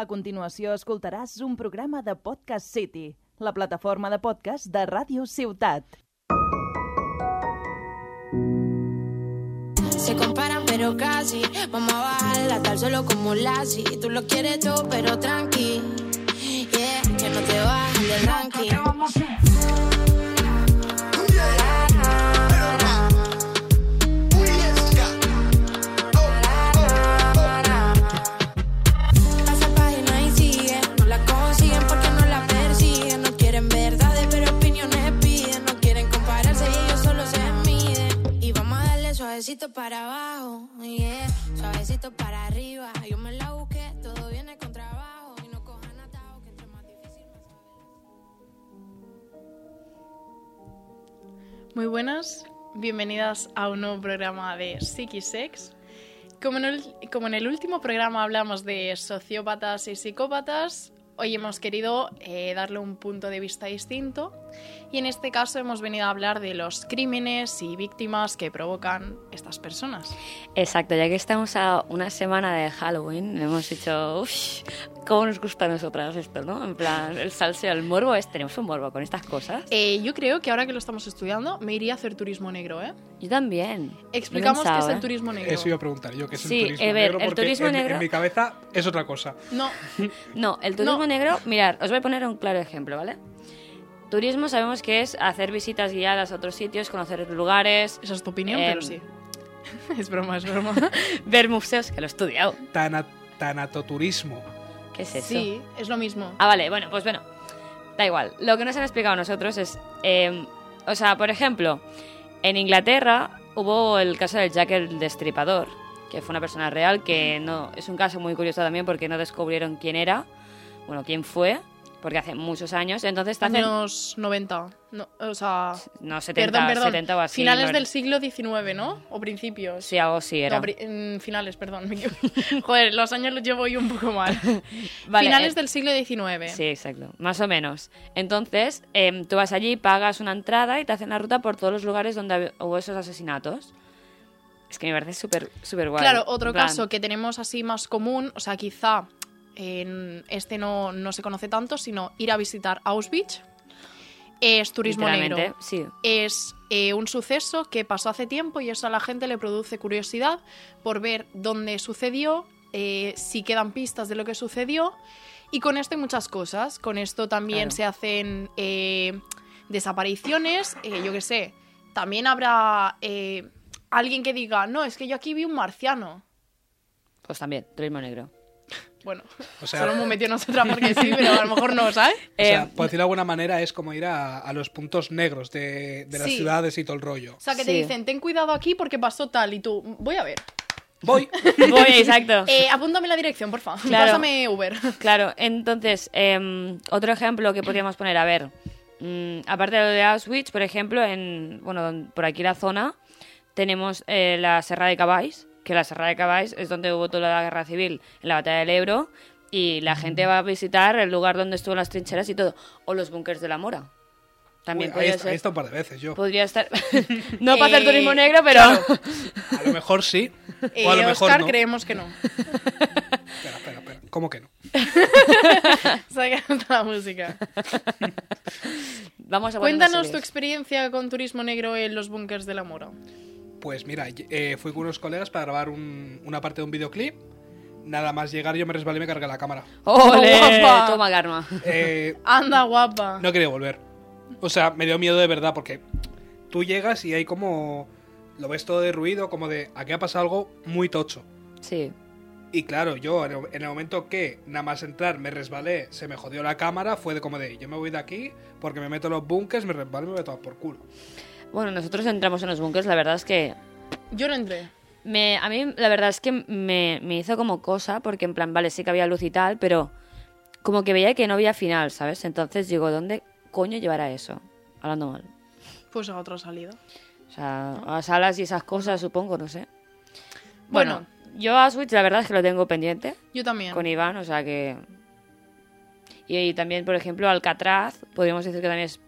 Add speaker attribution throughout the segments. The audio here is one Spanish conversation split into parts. Speaker 1: A continuació escoltaràs un programa de Podcast City, la plataforma de podcast de Ràdio Ciutat.
Speaker 2: Se comparan pero casi, vamos a bajarla tal solo como lazi. Tú lo quieres todo pero tranqui, yeah, que no te bajes del ranking. Pasa página y sigue, no la consiguen porque no la persiguen. No quieren verdades, pero opiniones piden. No quieren compararse y ellos solo se miden. Y vamos a darle suavecito para abajo, yeah, suavecito para arriba. Yo me la busqué, todo viene con trabajo. Y no cojan atajo, que entre más difícil más
Speaker 3: Muy buenas, bienvenidas a un nuevo programa de Psiquisex. Como en, el, como en el último programa hablamos de sociópatas y psicópatas, hoy hemos querido eh, darle un punto de vista distinto y en este caso hemos venido a hablar de los crímenes y víctimas que provocan estas personas.
Speaker 4: Exacto, ya que estamos a una semana de Halloween, hemos dicho, uff, ¿cómo nos gusta a nosotras esto, no? En plan, el salseo, el morbo es, tenemos un morbo con estas cosas.
Speaker 3: Eh, yo creo que ahora que lo estamos estudiando me iría a hacer turismo negro, ¿eh?
Speaker 4: Yo también. Lo he
Speaker 3: Explicamos qué es
Speaker 4: pensado,
Speaker 3: el
Speaker 4: ¿eh?
Speaker 3: turismo negro.
Speaker 5: Eso iba a preguntar yo, que es
Speaker 4: Sí,
Speaker 5: el turismo
Speaker 4: a ver,
Speaker 5: negro,
Speaker 4: el
Speaker 5: porque
Speaker 4: turismo
Speaker 5: en, mi-
Speaker 4: negro-
Speaker 5: en mi cabeza es otra cosa.
Speaker 3: No,
Speaker 4: No, el turismo
Speaker 3: No.
Speaker 4: negro, mirad, os voy a poner un claro ejemplo, ¿vale? Turismo sabemos que es hacer visitas guiadas a otros sitios, conocer lugares,
Speaker 3: esa es tu opinión,
Speaker 4: Eh,
Speaker 3: pero sí. es broma, es broma.
Speaker 4: ver museos, que lo he estudiado.
Speaker 5: Tana- tanatoturismo.
Speaker 4: ¿Qué es eso?
Speaker 3: Sí, es lo mismo.
Speaker 4: Ah, vale, bueno, pues bueno. Da igual. Lo que nos han explicado a nosotros es. eh, o sea, por ejemplo, en Inglaterra hubo el caso del Jack el Destripador, que fue una persona real, que no. Es un caso muy curioso también porque no descubrieron quién era, bueno, quién fue, porque hace muchos años. Entonces, te hacen-
Speaker 3: Años 90. No, o sea,
Speaker 4: No, 70,
Speaker 3: perdón, perdón.
Speaker 4: 70 o así.
Speaker 3: finales
Speaker 4: no-
Speaker 3: del siglo XIX, ¿no? O principios.
Speaker 4: Sí, algo sí era.
Speaker 3: No, pri- mm, finales, perdón. me equivoco. Joder, los años los llevo yo un poco mal.
Speaker 4: Vale,
Speaker 3: finales
Speaker 4: eh,
Speaker 3: del siglo XIX.
Speaker 4: Sí, exacto, más o menos. Entonces, em, tú vas allí, pagas una entrada y te hacen la ruta por todos los lugares donde hab- hubo esos asesinatos. Es que me parece súper, súper guay.
Speaker 3: Claro, otro
Speaker 4: En plan,
Speaker 3: caso que tenemos así más común, o sea, quizá en este no, no se conoce tanto, sino ir a visitar Auschwitz. Es turismo negro.
Speaker 4: literalmente, Sí,
Speaker 3: es eh, un suceso que pasó hace tiempo y eso a la gente le produce curiosidad por ver dónde sucedió, eh, si quedan pistas de lo que sucedió. Y con esto hay muchas cosas. Con esto también
Speaker 4: Claro.
Speaker 3: se hacen eh, desapariciones, eh, yo qué sé. También habrá eh, alguien que diga, no, es que yo aquí vi un marciano.
Speaker 4: pues también, turismo negro.
Speaker 3: Bueno,
Speaker 5: O sea-
Speaker 3: solo Eh, hemos metido nosotras porque sí, pero a lo mejor no, ¿sabes?
Speaker 5: O sea,
Speaker 4: Em,
Speaker 5: por decirlo de alguna manera, es como ir a, a los puntos negros de, de las
Speaker 3: Sí.
Speaker 5: ciudades y todo el rollo.
Speaker 3: O sea, que te
Speaker 4: Sí.
Speaker 3: dicen, ten cuidado aquí porque pasó tal y tú, voy a ver.
Speaker 5: Voy.
Speaker 4: voy, exacto.
Speaker 3: Eh, apúntame la dirección, por favor.
Speaker 4: Claro.
Speaker 3: Pásame Uber.
Speaker 4: Claro, entonces, em, otro ejemplo que podríamos poner, a ver, mm, aparte de lo de Auschwitz, por ejemplo, en, bueno, don- por aquí la zona, tenemos eh, la Serra de Cabáis, que la Serra de Cabáis es donde hubo toda la guerra civil, en la batalla del Ebro, y la gente va a visitar el lugar donde estuvo las trincheras y todo, o los búnkers de la Mora. También
Speaker 5: Uy, ahí,
Speaker 4: podría
Speaker 5: está- ahí
Speaker 4: ser-
Speaker 5: está un par de veces yo.
Speaker 4: podría estar... no para hacer
Speaker 3: Eh,
Speaker 4: turismo negro, pero...
Speaker 5: A lo mejor sí.
Speaker 3: Eh,
Speaker 5: o a lo mejor
Speaker 3: Oscar,
Speaker 5: no.
Speaker 3: creemos que no.
Speaker 5: Espera, espera, espera. ¿Cómo que no?
Speaker 3: Sacando la música.
Speaker 4: Vamos a ponernos
Speaker 3: Cuéntanos tu
Speaker 4: serios.
Speaker 3: experiencia con turismo negro en los búnkers de la Mora.
Speaker 5: Pues mira, y- eh, fui con unos colegas para grabar un- una parte de un videoclip. Nada más llegar, yo me resbalé y me cargué la cámara.
Speaker 4: ¡Ole!
Speaker 3: guapa.
Speaker 4: Toma, Karma.
Speaker 5: Eh,
Speaker 3: Anda, guapa.
Speaker 5: No quería volver. O sea, me dio miedo de verdad porque tú llegas y hay como... Lo ves todo derruido, como de... Aquí ha pasado algo muy tocho.
Speaker 4: Sí.
Speaker 5: Y claro, yo en el, en el momento que nada más entrar me resbalé, se me jodió la cámara, fue de como de... Yo me voy de aquí porque me meto en los bunkers, me resbalé y me voy a tomar por culo.
Speaker 4: Bueno, nosotros entramos en los bunkers, la verdad es que
Speaker 3: Yo no entré.
Speaker 4: Me, a mí la verdad es que me, me hizo como cosa, porque en plan, vale, sí que había luz y tal, pero como que veía que no había final, ¿sabes? Entonces digo, ¿dónde coño llevará eso? Hablando mal.
Speaker 3: Pues a otra salida.
Speaker 4: O sea, a salas y esas cosas, supongo, no sé.
Speaker 3: Bueno.
Speaker 4: Bueno, yo a Switch la verdad es que lo tengo pendiente
Speaker 3: Yo también.
Speaker 4: con Iván, o sea que... Y, y también, por ejemplo, Alcatraz, podríamos decir que también es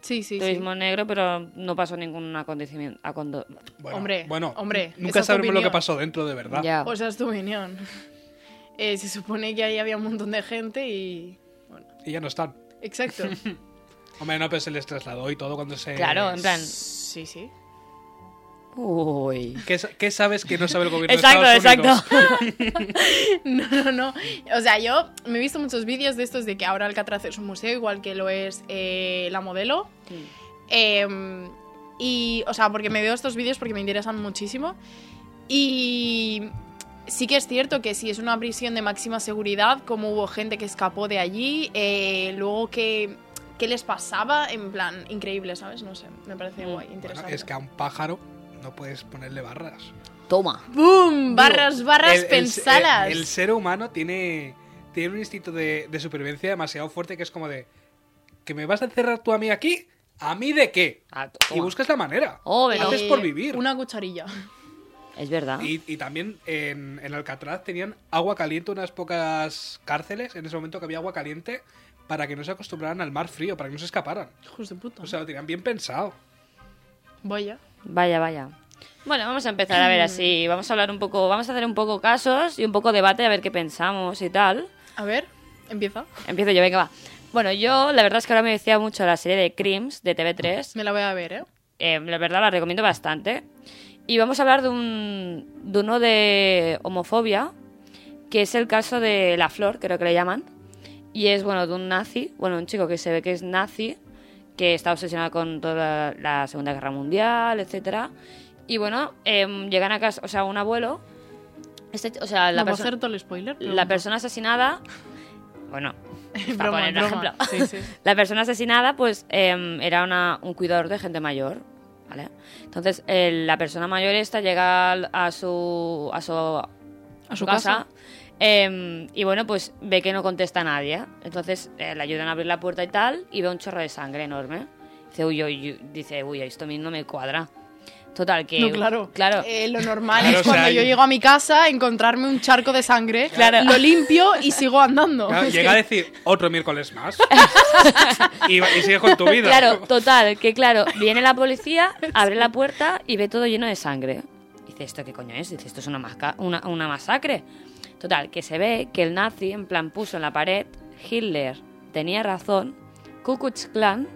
Speaker 3: Sí, sí, sí.
Speaker 4: turismo negro, pero no pasó ningún acontecimiento. acondo-
Speaker 5: Bueno,
Speaker 3: Hombre,
Speaker 5: bueno,
Speaker 3: hombre, esa
Speaker 5: nunca
Speaker 3: es tu
Speaker 5: sabremos lo que
Speaker 3: opinión.
Speaker 5: pasó dentro de verdad.
Speaker 4: Ya.
Speaker 3: O sea, es tu opinión. eh, se supone que ahí había un montón de gente y... Bueno,
Speaker 5: Y ya no están.
Speaker 3: exacto.
Speaker 5: Hombre, no, pero se les trasladó y todo cuando se...
Speaker 4: Claro, en plan.
Speaker 3: Sí, sí.
Speaker 4: Uy.
Speaker 5: ¿Qué, sa- qué sabes que no sabe el gobierno
Speaker 4: Exacto,
Speaker 5: de Estados Unidos?
Speaker 4: exacto.
Speaker 3: No, no, no. O sea, yo me he visto muchos vídeos de estos de que ahora Alcatraz es un museo, igual que lo es eh, la modelo. Em, y, o sea, porque me veo estos vídeos porque me interesan muchísimo. Y sí que es cierto que sí es una prisión de máxima seguridad, como hubo gente que escapó de allí, eh, luego que... ¿Qué les pasaba? En plan, increíble, ¿sabes? No sé, me parece
Speaker 4: Mm.
Speaker 3: guay,
Speaker 5: Bueno,
Speaker 3: interesante.
Speaker 5: es que a un pájaro no puedes ponerle barras.
Speaker 4: Toma.
Speaker 3: ¡Bum! Barras, barras,
Speaker 5: El- el-
Speaker 3: pensalas.
Speaker 5: El, el ser humano tiene, tiene un instinto de, de supervivencia demasiado fuerte que es como de... ¿Que me vas a encerrar tú a mí aquí? ¿A mí de qué?
Speaker 4: Ah,
Speaker 5: Y
Speaker 4: toma.
Speaker 5: buscas la manera.
Speaker 4: Oh, pero-
Speaker 5: Haces
Speaker 3: Eh,
Speaker 5: por vivir.
Speaker 3: Una cucharilla.
Speaker 4: Es verdad.
Speaker 5: Y, y también en, en Alcatraz tenían agua caliente unas pocas cárceles, en ese momento que había agua caliente, para que no se acostumbraran al mar frío, para que no se escaparan.
Speaker 3: Hijos de puta.
Speaker 5: O sea, lo tenían bien pensado.
Speaker 3: Vaya.
Speaker 4: Vaya, vaya. Bueno, vamos a empezar a ver así. Vamos a hablar un poco, vamos a hacer un poco casos y un poco debate a ver qué pensamos y tal.
Speaker 3: A ver, empieza.
Speaker 4: Empiezo yo, venga, va. Bueno, yo la verdad es que ahora me decía mucho la serie de Crims de TV3.
Speaker 3: Me la voy a ver, ¿eh?
Speaker 4: Eh, la verdad la recomiendo bastante. Y vamos a hablar de, un, de uno de homofobia, que es el caso de La Flor, creo que le llaman. Y es, bueno, de un nazi, bueno, un chico que se ve que es nazi, que está obsesionado con toda la, la Segunda Guerra Mundial, etcétera Y bueno, em, llegan a casa, o sea, un abuelo. Este, o sea, la,
Speaker 3: no va a
Speaker 4: perso-
Speaker 3: hacer todo el spoiler. pero
Speaker 4: la
Speaker 3: bueno.
Speaker 4: persona asesinada. Bueno, para
Speaker 3: Broma,
Speaker 4: poner un
Speaker 3: broma.
Speaker 4: ejemplo.
Speaker 3: Sí, sí.
Speaker 4: La persona asesinada, pues, em, era una- un cuidador de gente mayor, ¿vale? Entonces, el- la persona mayor esta llega al- a su, a su,
Speaker 3: A su casa.
Speaker 4: em, y, bueno, pues, ve que no contesta a nadie. Entonces, eh, le ayudan a abrir la puerta y tal, y ve un chorro de sangre enorme. Dice, uy, uy, uy", dice, uy, esto a mí no me cuadra. Total, que...
Speaker 3: No, claro.
Speaker 4: Claro.
Speaker 3: Eh, lo normal
Speaker 5: Claro,
Speaker 3: es
Speaker 5: o sea,
Speaker 3: cuando yo
Speaker 5: yo-
Speaker 3: llego a mi casa, encontrarme un charco de sangre,
Speaker 4: Claro.
Speaker 3: lo limpio y sigo
Speaker 4: Oh,
Speaker 3: andando.
Speaker 5: Claro,
Speaker 3: Es
Speaker 5: llega a
Speaker 3: que-
Speaker 5: decir otro miércoles más. y, va- y sigues con tu vida.
Speaker 4: Claro, total, que claro, viene la policía, abre la puerta y ve todo lleno de sangre. Dice, ¿esto qué coño es? Dice, esto es una, masca- una, una masacre. Total, que se ve que el nazi, en plan, puso en la pared, Hitler tenía razón, Ku Klux Klan,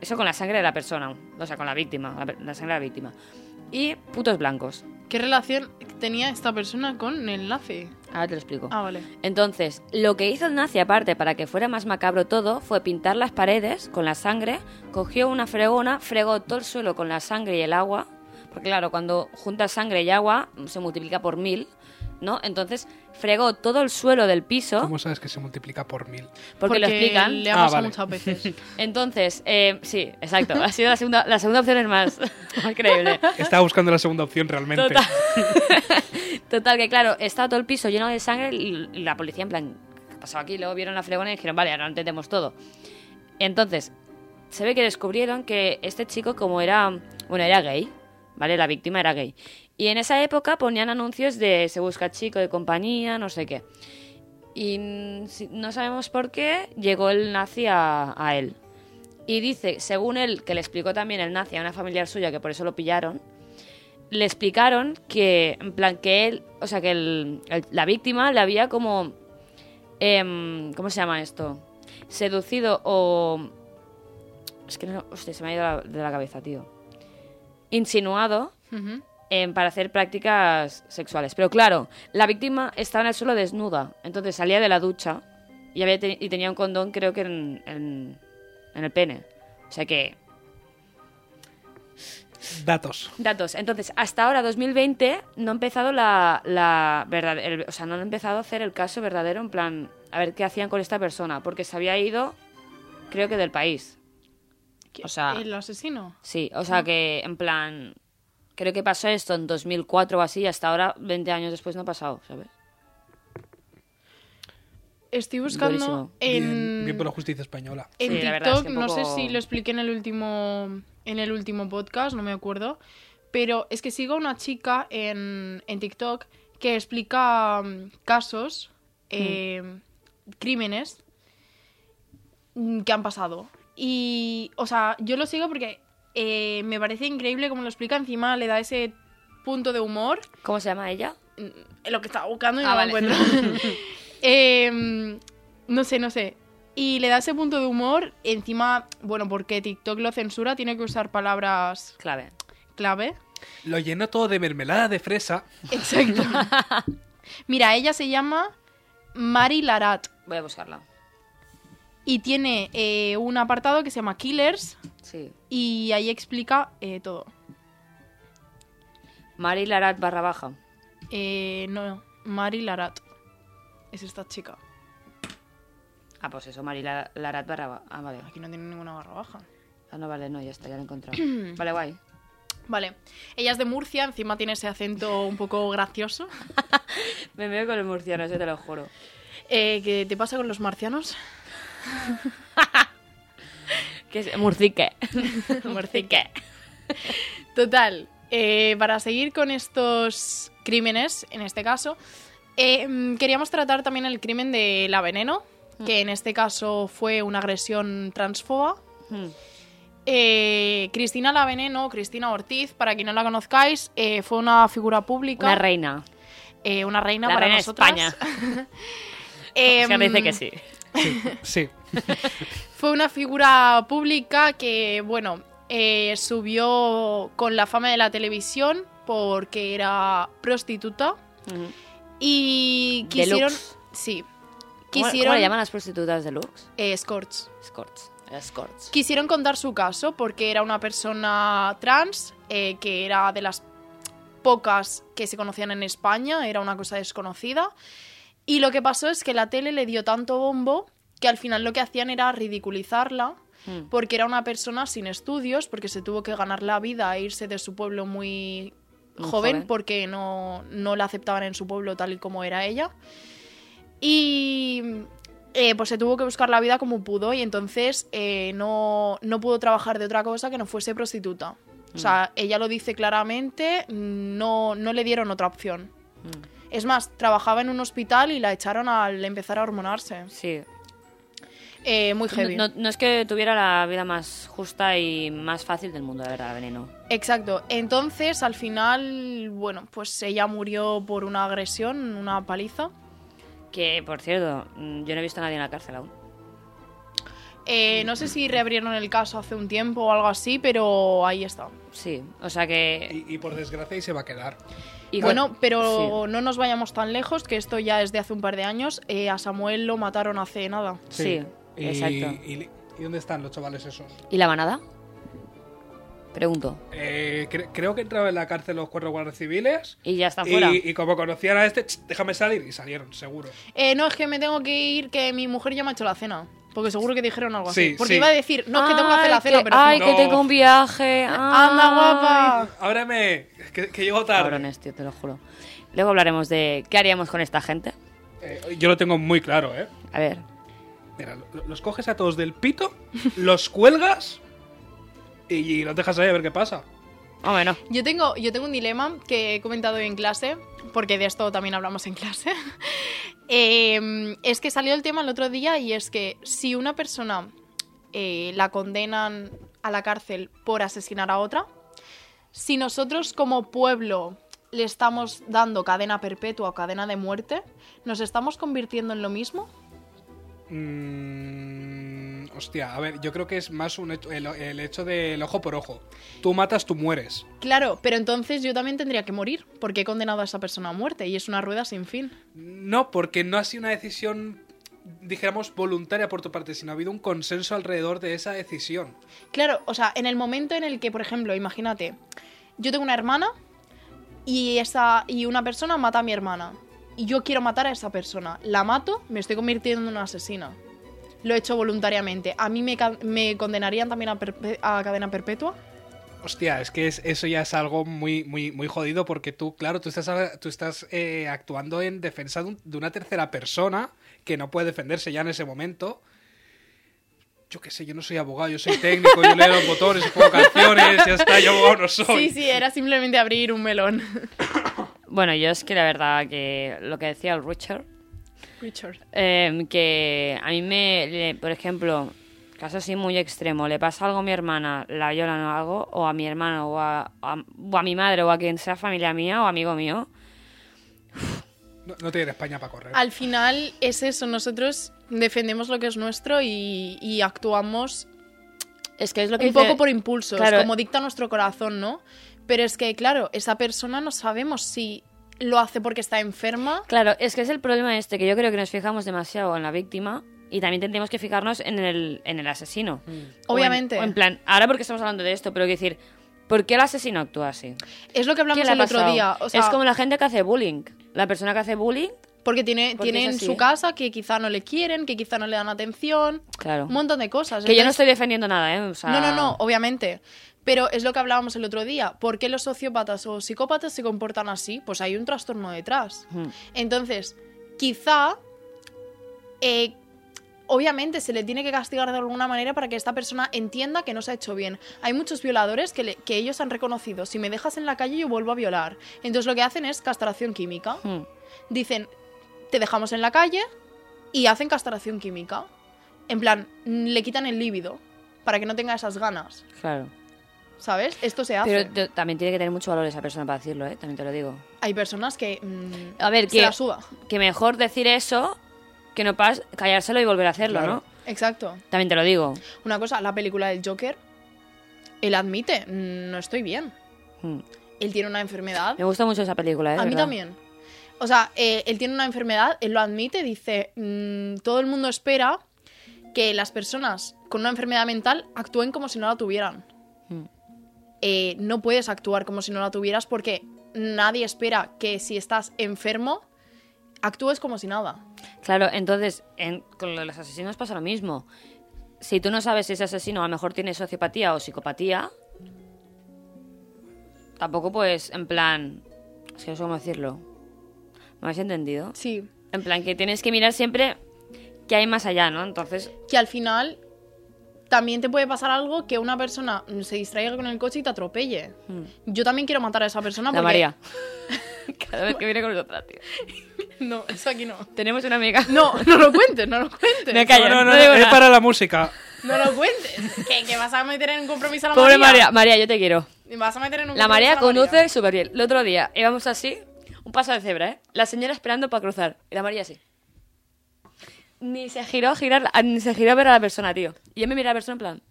Speaker 4: eso con la sangre de la persona, o sea, con la víctima, la, pe- la sangre de la víctima, y putos blancos.
Speaker 3: ¿Qué relación tenía esta persona con el nazi?
Speaker 4: Ahora te lo explico.
Speaker 3: Ah, vale.
Speaker 4: Entonces, lo que hizo el nazi aparte para que fuera más macabro todo fue pintar las paredes con la sangre, cogió una fregona, fregó todo el suelo con la sangre y el agua, porque claro, cuando juntas sangre y agua se multiplica por mil, ¿no? Entonces, fregó todo el suelo del piso,
Speaker 5: ¿Cómo sabes que se multiplica por mil?
Speaker 4: porque lo explican.
Speaker 3: Le ha pasado
Speaker 5: Ah, vale.
Speaker 3: muchas veces.
Speaker 4: Entonces, eh, sí, exacto, ha sido la segunda, la segunda opción es más, más creíble.
Speaker 5: Estaba buscando la segunda opción realmente.
Speaker 4: Total. Total, que claro, estaba todo el piso lleno de sangre y y la policía en plan, ¿qué ha pasado aquí? Luego vieron la fregona y dijeron, vale, ahora lo entendemos todo. Entonces, se ve que descubrieron que este chico como era, bueno, era gay, ¿vale? La víctima era gay. Y en esa época ponían anuncios de se busca chico de compañía, no sé qué. Y mm, si- no sabemos por qué llegó el nazi a, a él. Y dice, según él, que le explicó también el nazi a una familiar suya, que por eso lo pillaron, le explicaron que, en plan, que él, o sea, que el- el- la víctima le había como, em, ¿cómo se llama esto? Seducido o... Es que no, hostia, se me ha ido la- de la cabeza, tío. Insinuado
Speaker 3: Ujú.
Speaker 4: em, para hacer prácticas sexuales. Pero claro, la víctima estaba en el suelo desnuda, entonces salía de la ducha y, había te- y tenía un condón, creo que en, en- en el pene. O sea que
Speaker 5: Datos.
Speaker 4: Datos. Entonces, hasta ahora, 2020, no ha empezado la, la verdad, el- o sea, no han empezado a hacer el caso verdadero en plan, a ver qué hacían con esta persona, porque se había ido, creo que del país. O sea,
Speaker 3: ¿El asesino?
Speaker 4: sí, o sea que en plan, creo que pasó esto en 2004 o así, y hasta ahora, 20 años después, no ha pasado, ¿sabes?
Speaker 3: Estoy buscando
Speaker 4: Buenísimo.
Speaker 5: Bien,
Speaker 3: en...
Speaker 5: bien por la justicia española.
Speaker 3: En
Speaker 4: Sí, la verdad
Speaker 3: TikTok,
Speaker 4: es que
Speaker 3: no sé
Speaker 4: poco-
Speaker 3: si lo expliqué en el último en el último podcast, no me acuerdo, pero es que sigo a una chica en, en TikTok que explica mm, casos,
Speaker 4: Mm.
Speaker 3: eh, crímenes mm, que han pasado. Y, o sea, yo lo sigo porque eh, me parece increíble como lo explica, encima le da ese punto de humor.
Speaker 4: ¿Cómo se llama ella?
Speaker 3: mm, lo que estaba buscando y
Speaker 6: Ah,
Speaker 3: no
Speaker 6: vale.
Speaker 3: lo encuentro. Em, no sé, no sé. Y le da ese punto de humor. Encima, bueno, porque TikTok lo censura, tiene que usar palabras
Speaker 4: Clave.
Speaker 3: clave.
Speaker 5: Lo lleno todo de mermelada de fresa.
Speaker 3: Exacto. Mira, ella se llama Mari Larat
Speaker 4: Voy a buscarla.
Speaker 3: y tiene eh, un apartado que se llama Killers
Speaker 4: Sí.
Speaker 3: y ahí explica eh, todo.
Speaker 4: Mari Larat barra baja.
Speaker 3: Eh, no, Mari Larat. Es esta chica.
Speaker 4: Ah, pues eso, Mari La- Larat barra baja. Ah, vale.
Speaker 3: Aquí no tiene ninguna barra baja.
Speaker 4: Ah, no, vale, no, ya está, ya la he encontrado. vale, guay.
Speaker 3: Vale, ella es de Murcia, encima tiene ese acento un poco gracioso.
Speaker 4: Me veo con los murcianos, yo te lo juro.
Speaker 3: Eh, ¿Qué te pasa con los marcianos?
Speaker 4: Que es murcique.
Speaker 3: Murcique. Total, eh, para seguir con estos crímenes, en este caso, eh, mm, queríamos tratar también el crimen de la veneno,
Speaker 4: Mm.
Speaker 3: que en este caso fue una agresión transfoba.
Speaker 4: Hmm.
Speaker 3: Eh, Cristina la veneno, Cristina Ortiz, para quien no la conozcáis, eh, fue una figura pública,
Speaker 4: Una reina.
Speaker 3: eh, una reina
Speaker 4: La
Speaker 3: para
Speaker 4: reina de
Speaker 3: nosotras.
Speaker 4: España.
Speaker 3: Em,
Speaker 4: Se dice que sí.
Speaker 5: Sí.
Speaker 3: Fue una figura pública que, bueno, eh, subió con la fama de la televisión porque era prostituta
Speaker 4: Ujú.
Speaker 3: y quisieron...
Speaker 4: Deluxe.
Speaker 3: Sí.
Speaker 4: ¿Cómo-
Speaker 3: Quisieron...
Speaker 4: ¿Cómo le llaman las prostitutas deluxe?
Speaker 3: Eh, escorts.
Speaker 4: Escorts. Escorts.
Speaker 3: Quisieron contar su caso porque era una persona trans eh, que era de las pocas que se conocían en España, era una cosa desconocida. Y lo que pasó es que la tele le dio tanto bombo que al final lo que hacían era ridiculizarla
Speaker 4: Hmm.
Speaker 3: porque era una persona sin estudios, porque se tuvo que ganar la vida e irse de su pueblo muy joven,
Speaker 4: Muy Mm, joven.
Speaker 3: porque no, no la aceptaban en su pueblo tal y como era ella. Y eh, pues se tuvo que buscar la vida como pudo y entonces eh, no, no pudo trabajar de otra cosa que no fuese prostituta. O
Speaker 4: Mm.
Speaker 3: sea, ella lo dice claramente, no, no le dieron otra opción.
Speaker 4: mm.
Speaker 3: Es más, trabajaba en un hospital y la echaron al empezar a hormonarse.
Speaker 4: Sí.
Speaker 3: Eh, muy heavy.
Speaker 4: No, no es que tuviera la vida más justa y más fácil del mundo, la verdad, la veneno.
Speaker 3: Exacto. Entonces, al final, bueno, pues ella murió por una agresión, una paliza.
Speaker 4: Que, por cierto, mm, yo no he visto a nadie en la cárcel aún.
Speaker 3: Eh, no sé si reabrieron el caso hace un tiempo o algo así, pero ahí está.
Speaker 4: Sí, o sea que...
Speaker 5: Y, y por desgracia ahí se va a quedar.
Speaker 4: y
Speaker 3: bueno, pero no nos vayamos tan lejos, que esto ya es de hace un par de años. Eh, a Samuel lo mataron hace nada.
Speaker 4: Sí,
Speaker 5: Y-
Speaker 4: exacto.
Speaker 5: Y, y dónde están los chavales esos?
Speaker 4: ¿Y la manada? Pregunto.
Speaker 5: Eh, cre- creo que entraron en la cárcel los cuatro guardias civiles.
Speaker 4: Y ya está
Speaker 5: Y-
Speaker 4: fuera.
Speaker 5: Y, como conocían a este, "Ch, déjame salir. Y salieron, seguro.
Speaker 3: Eh, no, es que me tengo que ir, que mi mujer ya me ha hecho la cena. Porque seguro que dijeron algo así.
Speaker 5: Sí,
Speaker 3: Porque
Speaker 5: sí.
Speaker 3: iba a decir, no, es que tengo que hacer la
Speaker 4: Ay,
Speaker 3: cena,
Speaker 4: que-
Speaker 3: pero...
Speaker 4: Ay,
Speaker 3: no.
Speaker 4: que
Speaker 5: No.
Speaker 4: tengo un viaje. Ay.
Speaker 3: ¡Anda, guapa!
Speaker 5: Ábreme, que, que llego tarde.
Speaker 4: Cabrones, tío, te lo juro. Luego hablaremos de qué haríamos con esta gente.
Speaker 5: Eh, yo lo tengo muy claro, ¿eh?
Speaker 4: A ver,
Speaker 5: Mira, lo- los coges a todos del pito, los cuelgas y, y los dejas ahí a ver qué pasa.
Speaker 4: más o menos.
Speaker 3: Yo tengo, yo tengo un dilema que he comentado en clase, porque de esto también hablamos en clase. Eh, es que salió el tema el otro día y es que si una persona eh, la condenan a la cárcel por asesinar a otra, si nosotros como pueblo le estamos dando cadena perpetua o cadena de muerte, ¿nos estamos convirtiendo en lo mismo?
Speaker 5: Mm, hostia, a ver, yo creo que es más un hecho- el, el hecho del ojo por ojo. Tú matas, tú mueres.
Speaker 3: Claro, pero entonces yo también tendría que morir, porque he condenado a esa persona a muerte y es una rueda sin fin.
Speaker 5: No, porque no ha sido una decisión, dijéramos, voluntaria por tu parte, sino ha habido un consenso alrededor de esa decisión.
Speaker 3: Claro, o sea, en el momento en el que, por ejemplo, imagínate, yo tengo una hermana y, esa, y una persona mata a mi hermana. Y yo quiero matar a esa persona. La mato, me estoy convirtiendo en una asesina. Lo he hecho voluntariamente. ¿A mí me, ca- me condenarían también a, perpe- a cadena perpetua?
Speaker 5: Hostia, es que es- eso ya es algo muy, muy, muy jodido porque tú, claro, tú estás, tú estás eh, actuando en defensa de, un- de una tercera persona que no puede defenderse ya en ese momento. Yo qué sé, yo no soy abogado, yo soy técnico, yo leo los botones, juego canciones, ya está, yo abogado no soy.
Speaker 3: Sí, sí, era simplemente abrir un melón.
Speaker 4: Bueno, yo es que la verdad que lo que decía el Richard,
Speaker 3: Richard.
Speaker 4: eh, que a mí me, le- por ejemplo, caso así muy extremo, le pasa algo a mi hermana, la violan o algo, o a mi hermano, o a, a- o a mi madre, o a quien sea familia mía o amigo mío,
Speaker 5: No, no tiene España para correr.
Speaker 4: Ah,
Speaker 3: Al final es eso, nosotros defendemos lo que es nuestro y, y actuamos
Speaker 4: Es que es lo que
Speaker 3: un
Speaker 4: dice-
Speaker 3: poco por impulsos,
Speaker 4: Claro.
Speaker 3: como dicta nuestro corazón, ¿no? Pero es que, claro, esa persona no sabemos si lo hace porque está enferma.
Speaker 4: Claro, es que es el problema este, que yo creo que nos fijamos demasiado en la víctima y también tendríamos que fijarnos en el, en el asesino. O en-
Speaker 3: Mm. Obviamente.
Speaker 4: o en, plan, ahora porque estamos hablando de esto, pero quiero decir, ¿por qué el asesino actúa así?
Speaker 3: Es lo que hablamos
Speaker 4: ¿Qué le ha
Speaker 3: el otro
Speaker 4: pasado?
Speaker 3: día. O sea,
Speaker 4: es como la gente que hace bullying. La persona que hace bullying,
Speaker 3: Porque tiene,
Speaker 4: Porque
Speaker 3: tiene
Speaker 4: es
Speaker 3: en
Speaker 4: así.
Speaker 3: su casa que quizá no le quieren, que quizá no le dan atención,
Speaker 4: claro.
Speaker 3: un montón de cosas.
Speaker 4: Que yo no
Speaker 3: Entonces,
Speaker 4: estoy defendiendo nada, ¿eh? O sea,
Speaker 3: No, no, no, obviamente. Pero es lo que hablábamos el otro día. ¿Por qué los sociópatas o psicópatas se comportan así? Pues hay un trastorno detrás.
Speaker 4: Ujú.
Speaker 3: Entonces, quizá, eh, obviamente se le tiene que castigar de alguna manera para que esta persona entienda que no se ha hecho bien. Hay muchos violadores que, le- que ellos han reconocido, si me dejas en la calle yo vuelvo a violar. Entonces lo que hacen es castración química.
Speaker 4: Hmm.
Speaker 3: Dicen, te dejamos en la calle y hacen castración química. En plan, mm, le quitan el líbido para que no tenga esas ganas,
Speaker 4: Claro.
Speaker 3: ¿sabes? Esto se hace.
Speaker 4: Pero te- también tiene que tener mucho valor esa persona para decirlo, ¿eh? También te lo digo.
Speaker 3: Hay personas que... mm,
Speaker 4: A ver,
Speaker 3: se
Speaker 4: que,
Speaker 3: la suba.
Speaker 4: que mejor decir eso que no pas callárselo y volver a hacerlo,
Speaker 5: Claro.
Speaker 4: ¿no?
Speaker 3: Exacto.
Speaker 4: También te lo digo.
Speaker 3: Una cosa, la película del Joker, él admite, "Mm, no estoy bien.
Speaker 4: Hmm.
Speaker 3: Él tiene una enfermedad.
Speaker 4: Me gusta mucho esa película, ¿eh?
Speaker 3: A mí
Speaker 4: ¿Verdad?
Speaker 3: también. O sea, eh, él tiene una enfermedad, él lo admite, dice, "Mm, todo el mundo espera que las personas con una enfermedad mental actúen como si no la tuvieran.
Speaker 4: Hmm.
Speaker 3: Eh, no puedes actuar como si no la tuvieras porque nadie espera que si estás enfermo actúes como si nada.
Speaker 4: Claro, entonces, en- con lo de los asesinos pasa lo mismo. Si tú no sabes si ese asesino a lo mejor tiene sociopatía o psicopatía, tampoco pues, en plan... Es que no sé cómo decirlo. ¿Me habéis entendido?
Speaker 3: Sí.
Speaker 4: En plan, que tienes que mirar siempre qué hay más allá, ¿no? Entonces,
Speaker 3: que al final también te puede pasar algo que una persona mm, se distraiga con el coche y te atropelle. Yo también quiero matar a esa persona
Speaker 4: Hmm. la
Speaker 3: Ah, porque...
Speaker 4: María. Cada vez que viene con nosotras, tío.
Speaker 3: No, eso aquí no.
Speaker 4: Tenemos una amiga...
Speaker 3: No, no lo cuentes, no lo cuentes.
Speaker 4: Me callo,
Speaker 5: no, no,
Speaker 4: no
Speaker 5: no,
Speaker 4: digo
Speaker 5: es
Speaker 4: nada.
Speaker 5: para la música.
Speaker 3: No lo cuentes. ¿Qué, que vas a meter en un compromiso a la
Speaker 4: Pobre
Speaker 3: María?
Speaker 4: María. María, yo te quiero.
Speaker 3: Vas a meter en un compromiso
Speaker 4: La
Speaker 3: a
Speaker 4: marea
Speaker 3: María.
Speaker 4: conduce súper bien. El otro día íbamos así, un paso de cebra, ¿eh? La señora esperando para cruzar. Y la María así. Ni se giró a girar, a- ni se giró a ver a la persona, tío. Y yo me miré a la persona en plan.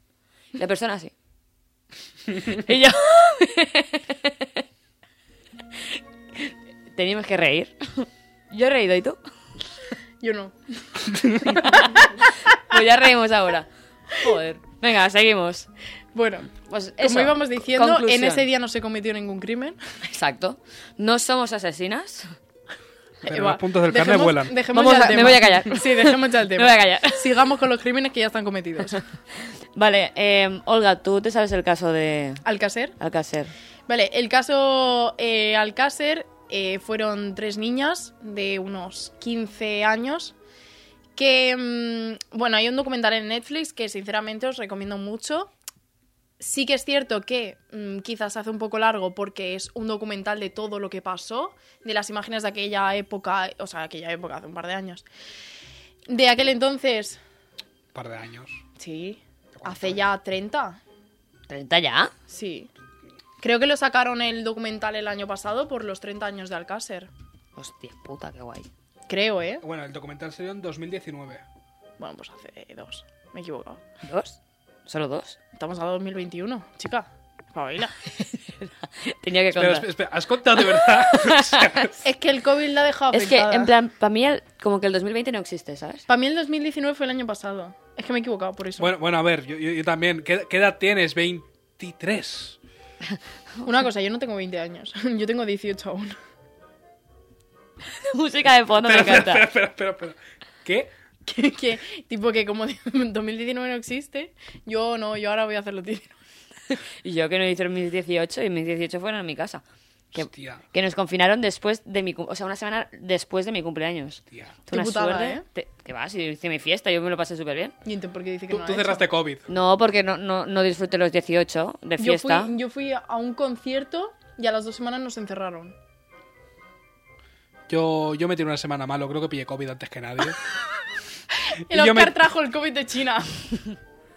Speaker 4: y La persona así. y yo. Teníamos que reír. Yo he reído, ¿y tú?
Speaker 3: Yo no.
Speaker 4: Pues ya reímos ahora. Joder. Venga, seguimos.
Speaker 3: Bueno,
Speaker 4: Pues eso,
Speaker 3: como íbamos diciendo,
Speaker 4: conclusión.
Speaker 3: en ese día no se cometió ningún crimen.
Speaker 4: Exacto. No somos asesinas.
Speaker 5: Pero
Speaker 3: Eva,
Speaker 5: los puntos del carne
Speaker 3: Eh, dejemos-
Speaker 5: vuelan.
Speaker 3: dejemos
Speaker 4: Vamos
Speaker 3: ya el
Speaker 4: a- me
Speaker 3: tema.
Speaker 4: voy a callar.
Speaker 3: Sí, dejemos ya el
Speaker 4: Me
Speaker 3: tema.
Speaker 4: voy a callar.
Speaker 3: Sigamos con los crímenes que ya están cometidos.
Speaker 4: Vale, eh, Olga, tú te sabes el caso de
Speaker 3: Alcácer.
Speaker 4: Alcácer.
Speaker 3: Vale, el caso eh, Alcácer eh, fueron tres niñas de unos 15 años que, mm, bueno, hay un documental en Netflix que sinceramente os recomiendo mucho. Sí que es cierto que mm, quizás se hace un poco largo porque es un documental de todo lo que pasó, de las imágenes de aquella época, o sea, aquella época, hace un par de años. De aquel entonces,
Speaker 5: Un par de años.
Speaker 3: sí, hace ya 30,
Speaker 4: 30 ya.
Speaker 3: Sí. Creo que lo sacaron el documental el año pasado por los 30 años de Alcácer.
Speaker 4: Hostia puta, qué guay.
Speaker 3: Creo, ¿eh?
Speaker 5: Bueno, el documental salió en 2019.
Speaker 3: Bueno, pues hace dos. Me he equivocado.
Speaker 4: ¿Dos? ¿Solo dos?
Speaker 3: Estamos a 2021, chica. Espabila.
Speaker 4: Tenía que
Speaker 5: Espera,
Speaker 4: contar.
Speaker 5: espera, espera, ¿has contado de verdad? O sea,
Speaker 3: es que el COVID la ha dejado
Speaker 4: es que,
Speaker 3: afectada.
Speaker 4: en plan, para mí, el- como que el 2020 no existe, ¿sabes?
Speaker 3: Para mí el 2019 fue el año pasado. Es que me he equivocado por eso.
Speaker 5: bueno, bueno, a ver, yo, yo- yo también. ¿Qué, qué edad tienes? 23.
Speaker 3: Una cosa, yo no tengo 20 años. Yo tengo 18 aún.
Speaker 4: Música de fondo, me
Speaker 5: espera, espera, espera,
Speaker 4: encanta.
Speaker 5: espera, espera, espera. ¿Qué?
Speaker 3: que, que- tipo que como 2019 no existe, yo no, yo ahora voy a hacer los 19.
Speaker 4: Y yo que no hice mis 18 y mis 18 fueron en mi casa. Que,
Speaker 5: Hostia.
Speaker 4: que nos confinaron después de mi cum- O sea, una semana después de mi cumpleaños.
Speaker 5: Tía.
Speaker 4: Fue Una
Speaker 3: Qué putada,
Speaker 4: suerte.
Speaker 3: ¿eh?
Speaker 4: Te- que va, si hice mi fiesta, yo me lo pasé súper bien.
Speaker 3: ¿Y entonces por qué dice que
Speaker 5: Tú,
Speaker 3: no la
Speaker 5: tú
Speaker 3: ha hecho?
Speaker 5: cerraste COVID.
Speaker 4: No, porque no, no, no disfruté los 18 de
Speaker 3: Yo fui,
Speaker 4: fiesta.
Speaker 3: yo fui a un concierto y a las dos semanas nos encerraron.
Speaker 5: Yo, yo me tiré una semana malo, creo que pillé COVID antes que nadie.
Speaker 3: El
Speaker 5: Y yo
Speaker 3: Oscar
Speaker 5: me-
Speaker 3: trajo el COVID de China.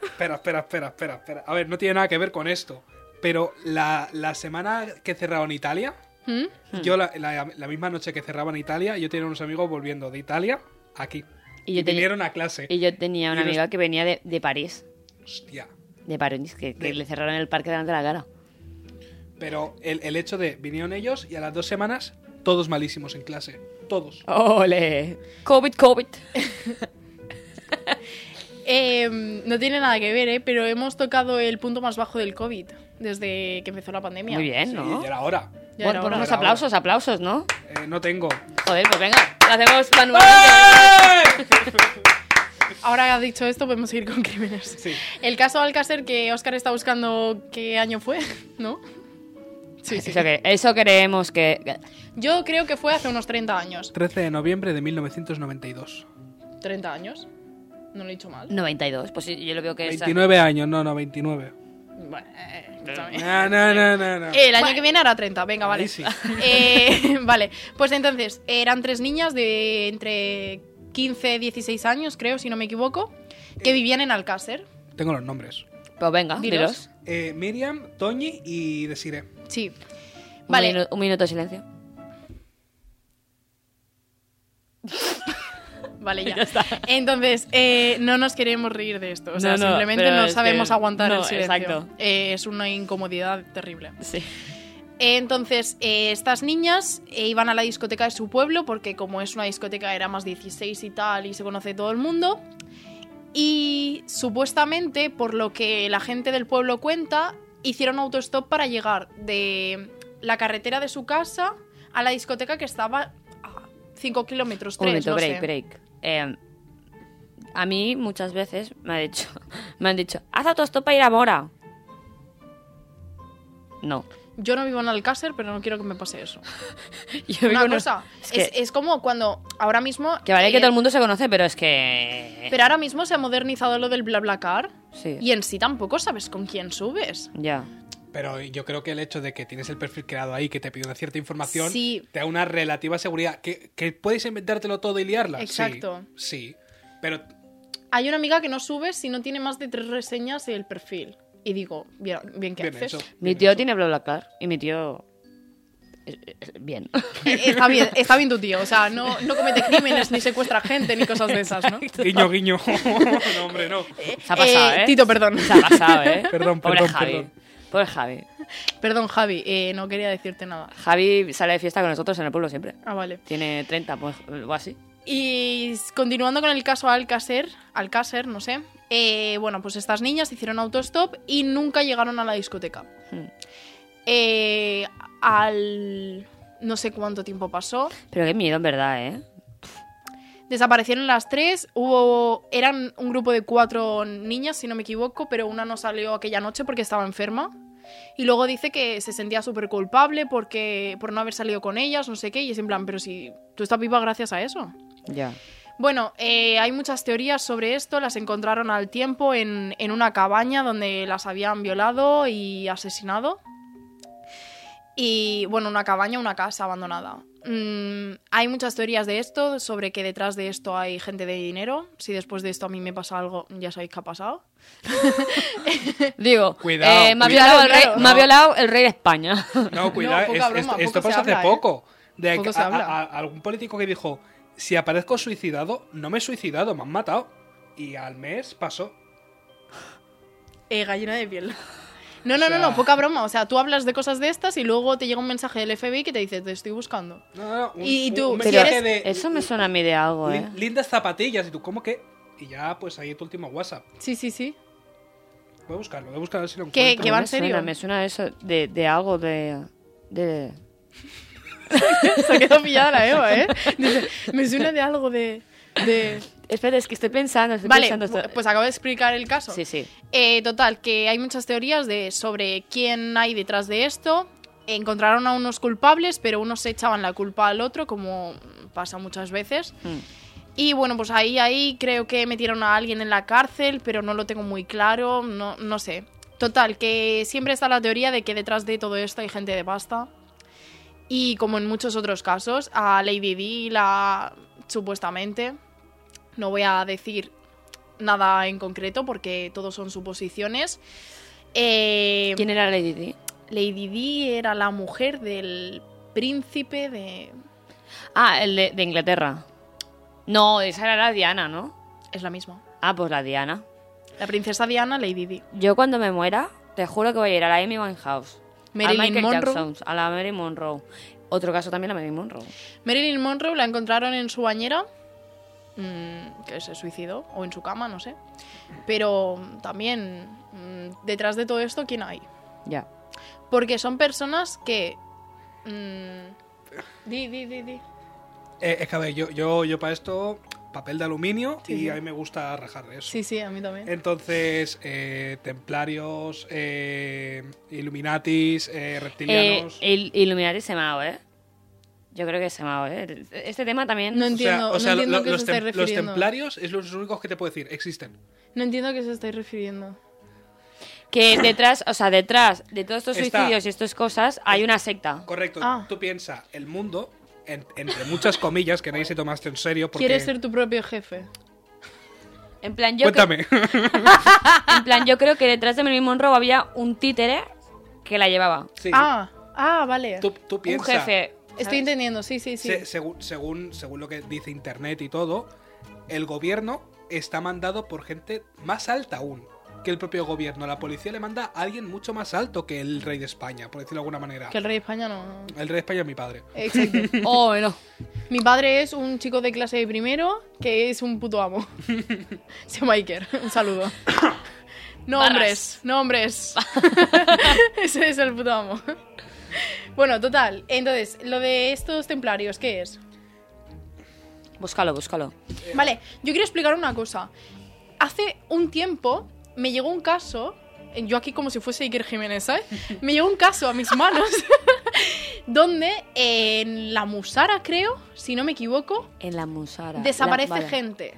Speaker 5: Espera, espera, espera, espera, espera. A ver, no tiene nada que ver con esto. Pero la, la semana que cerraron Italia,
Speaker 3: ¿Mm?
Speaker 4: Hmm.
Speaker 5: Yo la, la- la misma noche que cerraban Italia, yo tenía unos amigos volviendo de Italia aquí.
Speaker 4: Y
Speaker 5: Y,
Speaker 4: yo tenía-
Speaker 5: vinieron a clase.
Speaker 4: Y yo tenía una
Speaker 5: Y los-
Speaker 4: amiga que venía de, de París.
Speaker 5: Hostia.
Speaker 4: De París, que, que
Speaker 5: De-
Speaker 4: le cerraron el parque delante de la cara.
Speaker 5: Pero el, el hecho de, vinieron ellos y a las dos semanas, todos malísimos en clase. Todos.
Speaker 4: ¡Ole! COVID, COVID.
Speaker 3: Eh, no tiene nada que ver, ¿eh? pero hemos tocado el punto más bajo del COVID desde que empezó la pandemia.
Speaker 4: Muy bien, ¿no?
Speaker 5: Y ya era hora.
Speaker 3: Ya
Speaker 4: Bueno,
Speaker 3: era
Speaker 4: pon
Speaker 3: hora.
Speaker 4: unos
Speaker 5: Era hora.
Speaker 4: aplausos, aplausos, ¿no?
Speaker 5: Eh, no tengo.
Speaker 4: Joder, pues venga, lo hacemos manualmente.
Speaker 5: ¡Eh!
Speaker 3: Ahora que has dicho esto, podemos seguir con crímenes.
Speaker 5: Sí.
Speaker 3: El caso Alcácer que Oscar está buscando qué año fue, ¿no? Sí, sí.
Speaker 4: Eso, que, eso creemos que...
Speaker 3: Yo creo que fue hace unos 30 años.
Speaker 5: 13 de noviembre de 1992.
Speaker 3: 30 años. No lo he dicho mal.
Speaker 4: 92, pues sí, yo lo veo que es...
Speaker 5: 29 años, no, no, 29.
Speaker 3: Bueno, eh, escúchame.
Speaker 5: No, no, no, no. no.
Speaker 3: El año que viene hará 30, venga, vale.
Speaker 5: Ahí sí.
Speaker 3: Eh, vale, pues entonces, eran tres niñas de entre 15 y 16 años, creo, si no me equivoco, que vivían en Alcácer.
Speaker 5: Tengo los nombres.
Speaker 4: Pues venga,
Speaker 3: Dilos.
Speaker 4: dilos.
Speaker 5: Eh, Miriam, Toñi y Desiree.
Speaker 3: Sí.
Speaker 4: Un
Speaker 3: Vale,
Speaker 4: minu- un minuto de silencio.
Speaker 3: Vale, ya. Entonces, eh, no nos queremos reír de esto. O sea,
Speaker 4: No, no,
Speaker 3: simplemente
Speaker 4: pero
Speaker 3: no
Speaker 4: es
Speaker 3: sabemos
Speaker 4: que-
Speaker 3: aguantar
Speaker 4: no,
Speaker 3: el silencio.
Speaker 4: exacto.
Speaker 3: Eh, es una incomodidad terrible.
Speaker 4: Sí.
Speaker 3: Entonces, eh, estas niñas eh, iban a la discoteca de su pueblo, porque como es una discoteca era más 16 y tal, y se conoce todo el mundo. Y supuestamente, por lo que la gente del pueblo cuenta, hicieron autostop para llegar de la carretera de su casa a la discoteca que estaba a 5 kilómetros,
Speaker 4: Un
Speaker 3: 3,
Speaker 4: momento,
Speaker 3: no
Speaker 4: break,
Speaker 3: sé.
Speaker 4: break. Eh, a mí muchas veces me, ha dicho, me han dicho, haz autostop para ir a Mora. No.
Speaker 3: Yo no vivo en Alcácer, pero no quiero que me pase eso.
Speaker 4: Yo
Speaker 3: Una
Speaker 4: digo, no.
Speaker 3: cosa,
Speaker 4: Es
Speaker 3: es,
Speaker 4: que,
Speaker 3: es como cuando ahora mismo...
Speaker 4: que vale que
Speaker 3: eh,
Speaker 4: todo el mundo se conoce, pero es que...
Speaker 3: Pero ahora mismo se ha modernizado lo del BlaBlaCar
Speaker 4: Sí.
Speaker 3: y en sí tampoco sabes con quién subes.
Speaker 4: Ya.
Speaker 5: Pero yo creo que el hecho de que tienes el perfil creado ahí, que te pide una cierta información,
Speaker 3: Sí.
Speaker 5: te da una relativa seguridad. Que, que puedes inventártelo todo y liarla. Sí,
Speaker 3: Exacto.
Speaker 5: Sí, Pero
Speaker 3: Hay una amiga que no sube si no tiene más de tres reseñas el perfil. Y digo, bien, bien que
Speaker 5: bien
Speaker 3: haces.
Speaker 5: hecho.
Speaker 4: Mi
Speaker 5: bien
Speaker 4: tío
Speaker 5: hecho.
Speaker 4: tiene BlaBlaCar y mi tío... es- es- Bien.
Speaker 3: Eh, Está bien, está bien tu tío, o sea, no, no comete crímenes, ni secuestra gente, ni cosas de esas, ¿no?
Speaker 5: Guiño, guiño. no, hombre, no.
Speaker 4: Se ha pasado,
Speaker 3: Eh,
Speaker 4: ¿eh?
Speaker 3: Tito, perdón.
Speaker 4: Se ha pasado, ¿eh?
Speaker 5: Perdón,
Speaker 4: Pobre
Speaker 5: perdón,
Speaker 4: Javi.
Speaker 5: perdón.
Speaker 4: Pobre Javi.
Speaker 3: Perdón, Javi, eh, no quería decirte nada.
Speaker 4: Javi sale de fiesta con nosotros en el pueblo siempre.
Speaker 3: Ah, vale.
Speaker 4: Tiene 30 pues, o así.
Speaker 3: Y s- continuando con el caso Alcácer, Alcácer, no sé. eh, bueno, pues estas niñas hicieron autostop y nunca llegaron a la discoteca.
Speaker 4: Hmm.
Speaker 3: Eh, al no sé cuánto tiempo pasó,
Speaker 4: Pero qué miedo, en verdad, ¿eh?
Speaker 3: desaparecieron las tres. Hubo eran un grupo de cuatro niñas, si no me equivoco, pero una no salió aquella noche porque estaba enferma. Y luego dice que se sentía súper culpable porque por no haber salido con ellas, no sé qué. Y es en plan, pero si tú estás viva gracias a eso.
Speaker 4: Ya.
Speaker 3: Bueno, eh, hay muchas teorías sobre esto. Las encontraron al tiempo en, en una cabaña donde las habían violado y asesinado. Y bueno, una cabaña, una casa abandonada. Mm, hay muchas teorías de esto, sobre que detrás de esto hay gente de dinero. Si después de esto a mí me pasa algo, ya sabéis qué ha pasado.
Speaker 4: Digo,
Speaker 5: Cuidado,
Speaker 4: eh, me, ha
Speaker 5: cuidado.
Speaker 4: violado el rey,
Speaker 3: Claro,
Speaker 4: me ha
Speaker 5: no.
Speaker 4: violado el rey de España.
Speaker 5: No, cuidado.
Speaker 3: poca
Speaker 5: es- es-
Speaker 3: broma, poco
Speaker 5: esto
Speaker 3: se
Speaker 5: pasó hace
Speaker 3: habla, ¿eh?
Speaker 5: poco. De
Speaker 3: Poco
Speaker 5: a-
Speaker 3: se
Speaker 5: a-
Speaker 3: habla.
Speaker 5: a- algún político que dijo: Si aparezco suicidado, no me he suicidado, me han matado. Y al mes pasó.
Speaker 3: Eh, gallina de piel. No, no,
Speaker 5: O sea-
Speaker 3: no, no, poca broma. O sea, tú hablas de cosas de estas y luego te llega un mensaje del FBI que te dice, te estoy buscando.
Speaker 5: No, no, no, un-
Speaker 3: Y- y
Speaker 5: un-
Speaker 3: tú,
Speaker 5: un
Speaker 3: si
Speaker 4: Pero
Speaker 5: mensaje de-
Speaker 4: eso me suena a mí de algo,
Speaker 5: Lin-
Speaker 4: ¿eh?
Speaker 5: Lindas zapatillas. Y tú, ¿cómo que? Y ya, pues ahí tu último WhatsApp.
Speaker 3: Sí, sí, sí.
Speaker 5: Voy a buscarlo, voy a buscar a ver si lo
Speaker 3: ¿Qué-
Speaker 5: encuentro.
Speaker 3: qué va
Speaker 4: me
Speaker 3: en serio?
Speaker 4: Suena, me suena eso de, de algo de... de...
Speaker 3: Se ha quedado pillada la Eva, ¿eh? Dice, me suena de algo de... de...
Speaker 4: Espera, es que estoy pensando, estoy
Speaker 3: Vale,
Speaker 4: pensando... esto-
Speaker 3: bu- pues acabo de explicar el caso.
Speaker 4: Sí, sí.
Speaker 3: Eh, total, que hay muchas teorías de sobre quién hay detrás de esto. Encontraron a unos culpables, pero unos se echaban la culpa al otro, como pasa muchas veces.
Speaker 4: Mm.
Speaker 3: Y bueno, pues ahí, ahí creo que metieron a alguien en la cárcel, pero no lo tengo muy claro, no, no sé. Total, que siempre está la teoría de que detrás de todo esto hay gente de pasta. Y como en muchos otros casos, a Lady Di la... supuestamente, no voy a decir nada en concreto porque todos son suposiciones. Eh,
Speaker 4: ¿Quién era Lady Di?
Speaker 3: Lady Di era la mujer del príncipe de...
Speaker 4: Ah, el de, de Inglaterra. No, esa era la Diana, ¿no?
Speaker 3: Es la misma.
Speaker 4: Ah, pues la Diana.
Speaker 3: La princesa Diana, Lady Di.
Speaker 4: Yo cuando me muera, te juro que voy a ir a la Amy Winehouse.
Speaker 3: Marilyn
Speaker 4: a Michael
Speaker 3: Monroe.
Speaker 4: Jackson, a la Marilyn Monroe. Otro caso también la Marilyn Monroe.
Speaker 3: Marilyn Monroe la encontraron en su bañera, mm, que se suicidó, o en su cama, no sé. Pero mm, también, mm, detrás de todo esto, ¿quién hay?
Speaker 4: Ya.
Speaker 3: Porque son personas que... mm, di, di, di, di.
Speaker 5: Eh, es que a ver, yo, yo, yo para esto, papel de aluminio y a mí me gusta rajar de eso.
Speaker 3: Sí, sí, a mí también.
Speaker 5: Entonces, eh, templarios, eh, illuminatis, eh, reptilianos.
Speaker 4: Eh, il- Illuminati se mao, ¿eh? Yo creo que se mao, ¿eh? Este tema también...
Speaker 3: No
Speaker 5: O sea,
Speaker 3: entiendo,
Speaker 5: o sea,
Speaker 3: no entiendo
Speaker 5: lo-
Speaker 3: a qué
Speaker 5: los,
Speaker 3: se estáis
Speaker 5: tem- los
Speaker 3: refiriendo.
Speaker 5: templarios es los únicos que te puedo decir, existen.
Speaker 3: No entiendo a qué se estáis refiriendo.
Speaker 4: Que detrás, o sea, detrás de todos estos
Speaker 5: Está.
Speaker 4: suicidios y estas cosas, hay una secta.
Speaker 5: Correcto,
Speaker 3: Ah.
Speaker 5: tú piensas, el mundo, en- entre muchas comillas, que nadie se tomaste en serio porque...
Speaker 3: ¿Quieres ser tu propio jefe?
Speaker 4: En plan, yo, cre-
Speaker 5: Cuéntame.
Speaker 4: en plan, yo creo que detrás de Marilyn Monroe había un títere que la llevaba.
Speaker 5: Sí.
Speaker 3: Ah, ah, vale.
Speaker 5: tú, tú
Speaker 4: Un
Speaker 5: piensa,
Speaker 4: jefe.
Speaker 3: Estoy entendiendo, sí, sí, sí.
Speaker 5: se- según, según, según lo que dice internet y todo, el gobierno está mandado por gente más alta aún que el propio gobierno. La policía le manda a alguien mucho más alto que el rey de España, por decirlo de alguna manera.
Speaker 3: Que el rey de España no...
Speaker 5: El rey de España es mi padre.
Speaker 3: Exacto.
Speaker 4: Oh, bueno.
Speaker 3: Mi padre es un chico de clase de primero que es un puto amo. Se llama Iker. Un saludo. No
Speaker 4: Barras.
Speaker 3: hombres, no hombres. Ese es el puto amo. Bueno, total. Entonces, lo de estos templarios, ¿qué es?
Speaker 4: Búscalo, búscalo.
Speaker 3: Vale, yo quiero explicar una cosa. Hace un tiempo me llegó un caso, yo aquí como si fuese Iker Jiménez, ¿sabes? Me llegó un caso a mis manos donde en la Musara, creo, si no me equivoco,
Speaker 4: En la musara.
Speaker 3: desaparece
Speaker 4: La- vale.
Speaker 3: gente.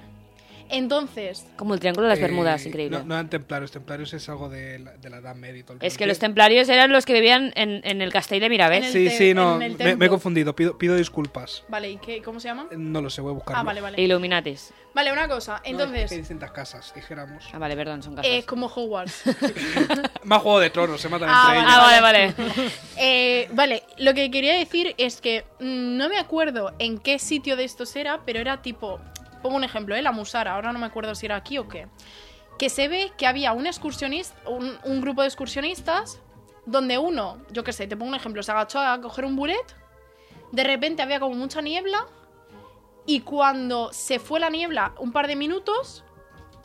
Speaker 3: Entonces,
Speaker 4: Como el triángulo de las
Speaker 5: Eh,
Speaker 4: Bermudas, increíble.
Speaker 5: No, no eran templarios, templarios es algo de la, de la Edad Media y todo el
Speaker 4: Es que
Speaker 5: rollo.
Speaker 4: los templarios eran los que vivían en, en el castell de Mirabel.
Speaker 3: En el
Speaker 5: Sí,
Speaker 3: te-
Speaker 5: sí, no,
Speaker 3: en el
Speaker 5: me,
Speaker 3: templo.
Speaker 5: me he confundido, pido, pido disculpas.
Speaker 3: vale, ¿y qué, cómo se llama?
Speaker 5: No lo sé, voy a buscarlo.
Speaker 3: Ah, vale, vale.
Speaker 4: Illuminatis.
Speaker 3: Vale, una cosa.
Speaker 5: Eh, No, es que hay
Speaker 3: Entonces,
Speaker 5: distintas casas, dijéramos.
Speaker 4: Ah, vale, perdón, son casas.
Speaker 3: es como Hogwarts.
Speaker 5: Más Juego de Tronos, se matan
Speaker 3: Ah,
Speaker 5: entre
Speaker 4: ah,
Speaker 5: ellos.
Speaker 4: vale, vale.
Speaker 3: Eh, vale, lo que quería decir es que mm, no me acuerdo en qué sitio de estos era, pero era tipo, pongo un ejemplo, ¿eh? la Musara, ahora no me acuerdo si era aquí o qué, que se ve que había un excursionista, un, un grupo de excursionistas, donde uno, yo qué sé, te pongo un ejemplo, se agachó a coger un buret, de repente había como mucha niebla, y cuando se fue la niebla un par de minutos,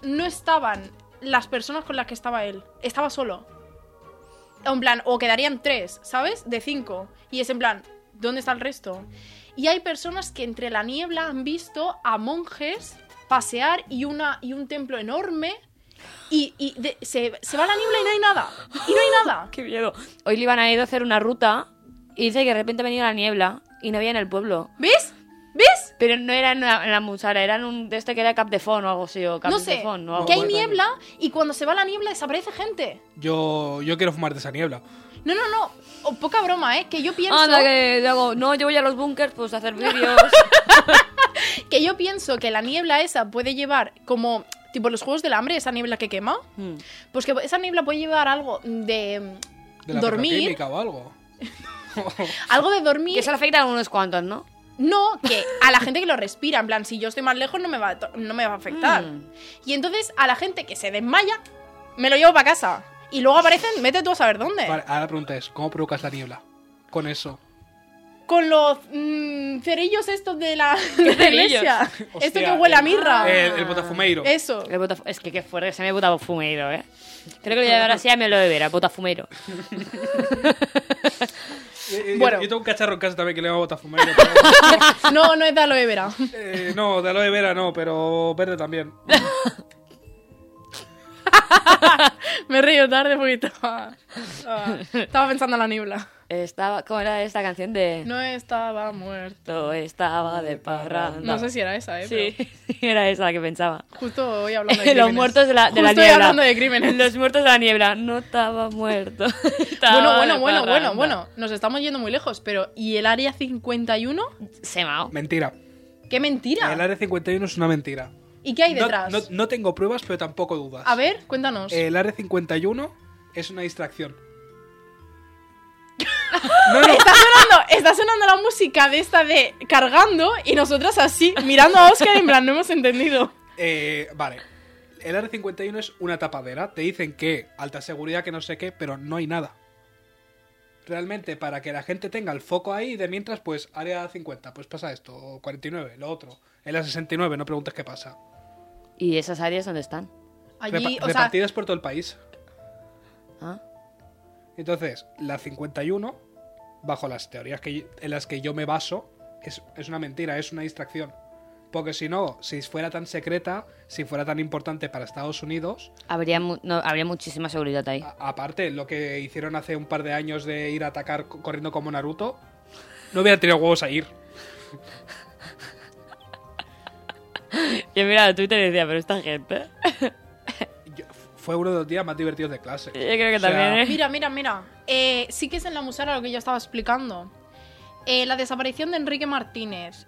Speaker 3: no estaban las personas con las que estaba él, estaba solo. En plan, o quedarían tres, ¿sabes? De cinco. Y es en plan, ¿dónde está el resto? Y hay personas que entre la niebla han visto a monjes pasear y, una, y un templo enorme. Y, y de- se, se va la niebla y no hay nada. Y no hay nada.
Speaker 4: Qué miedo. Hoy le iban a ir a hacer una ruta y dice que de repente ha venido la niebla y no había en el pueblo.
Speaker 3: ¿Ves? ¿Ves?
Speaker 4: Pero no era en la, en la musara, era en un de este que era Cap de Fon o algo así, o Cap
Speaker 3: No
Speaker 4: de
Speaker 3: sé.
Speaker 4: Fon o algo
Speaker 3: Que hay
Speaker 4: así.
Speaker 3: niebla y cuando se va la niebla desaparece gente.
Speaker 5: Yo, yo quiero fumar de esa niebla.
Speaker 3: No, no, no. O- poca broma, ¿eh? Que yo pienso...
Speaker 4: Anda, Ah, que digo, no, yo voy a los bunkers pues a hacer vídeos.
Speaker 3: Que yo pienso que la niebla esa puede llevar como tipo los juegos del hambre, esa niebla que quema.
Speaker 4: Mm.
Speaker 3: Pues que esa niebla puede llevar algo de mm,
Speaker 5: De la
Speaker 3: dormir,
Speaker 5: petroquímica o algo.
Speaker 3: algo de
Speaker 4: que
Speaker 3: dormir.
Speaker 4: eso le afecta a unos cuantos, ¿no?
Speaker 3: No, que a la gente que lo respira, en plan, si yo estoy más lejos no me va a, to- no me va a afectar.
Speaker 4: Mm.
Speaker 3: Y entonces a la gente que se desmaya, me lo llevo para casa. Y luego aparecen, vete tú a saber dónde.
Speaker 5: Vale, ahora la pregunta es, ¿cómo provocas la niebla? Con eso.
Speaker 3: Con los mm, cerillos estos de la, de la
Speaker 4: cerillos?
Speaker 3: iglesia. Esto
Speaker 5: Hostia,
Speaker 3: que huele a
Speaker 5: el- Ah. Eh,
Speaker 3: mirra.
Speaker 5: El, el botafumeiro.
Speaker 3: Eso.
Speaker 4: El botaf- es que qué fuerte que se me he botado fumeiro, ¿eh? Creo que lo voy a llevar así a me lo beberá, botafumeiro.
Speaker 5: Eh, eh,
Speaker 3: bueno.
Speaker 5: Yo, yo tengo un cacharro en casa también que le llamo botafumeiro. pero-
Speaker 3: No, no es de aloe vera.
Speaker 5: eh, no, de aloe vera no, pero verde también.
Speaker 3: Me río tarde porque estaba, estaba- Ah, estaba pensando en la niebla.
Speaker 4: Estaba, ¿Cómo era esta canción de...?
Speaker 3: No estaba muerto.
Speaker 4: Todo estaba de parranda.
Speaker 3: No sé si era esa, ¿eh?
Speaker 4: Sí, sí, era esa la que pensaba.
Speaker 3: pero justo hoy hablando de
Speaker 4: Los
Speaker 3: crímenes.
Speaker 4: muertos de la, de la
Speaker 3: Justo hoy
Speaker 4: niebla.
Speaker 3: hablando de crímenes.
Speaker 4: Los muertos de la niebla. No estaba muerto. Estaba
Speaker 3: Bueno,
Speaker 4: de
Speaker 3: bueno, bueno,
Speaker 4: parranda.
Speaker 3: bueno, bueno. Nos estamos yendo muy lejos, pero ¿y el área 51?
Speaker 4: Se mao.
Speaker 5: Mentira.
Speaker 3: ¡Qué mentira!
Speaker 5: El área 51 es una mentira.
Speaker 3: ¿Y qué hay
Speaker 5: No-
Speaker 3: detrás?
Speaker 5: No, Eh, no tengo pruebas, pero tampoco dudas.
Speaker 3: A ver, cuéntanos.
Speaker 5: El área 51 es una distracción. No, no,
Speaker 3: Está sonando, está sonando la música de esta de cargando y nosotras así, mirando a Oscar en plan, no hemos entendido.
Speaker 5: Eh, vale. El R51 es una tapadera. Te dicen que alta seguridad, que no sé qué, pero no hay nada. Realmente, para que la gente tenga el foco ahí, de mientras, pues área 50, pues pasa esto, o 49, lo otro. El A69, no preguntes qué pasa.
Speaker 4: ¿Y esas áreas dónde están?
Speaker 3: Allí,
Speaker 5: Repa-
Speaker 3: o sea,
Speaker 5: repartidas por todo el país.
Speaker 4: Ah.
Speaker 5: Entonces, la 51, bajo las teorías que yo- en las que yo me baso, es, es una mentira, es una distracción. Porque si no, si fuera tan secreta, si fuera tan importante para Estados Unidos,
Speaker 4: Habría, mu- no, habría muchísima seguridad ahí.
Speaker 5: a- aparte lo que hicieron hace un par de años de ir a atacar co- corriendo como Naruto, no hubiera tenido huevos a ir.
Speaker 4: Yo miraba Twitter y decía, pero esta gente.
Speaker 5: Yo- fue uno de los días más divertidos de clase.
Speaker 4: Yo creo que
Speaker 5: O sea,
Speaker 4: también, ¿eh?
Speaker 3: mira, mira, mira. Eh, sí que es en la musara lo que yo estaba explicando. Eh, la desaparición de Enrique Martínez.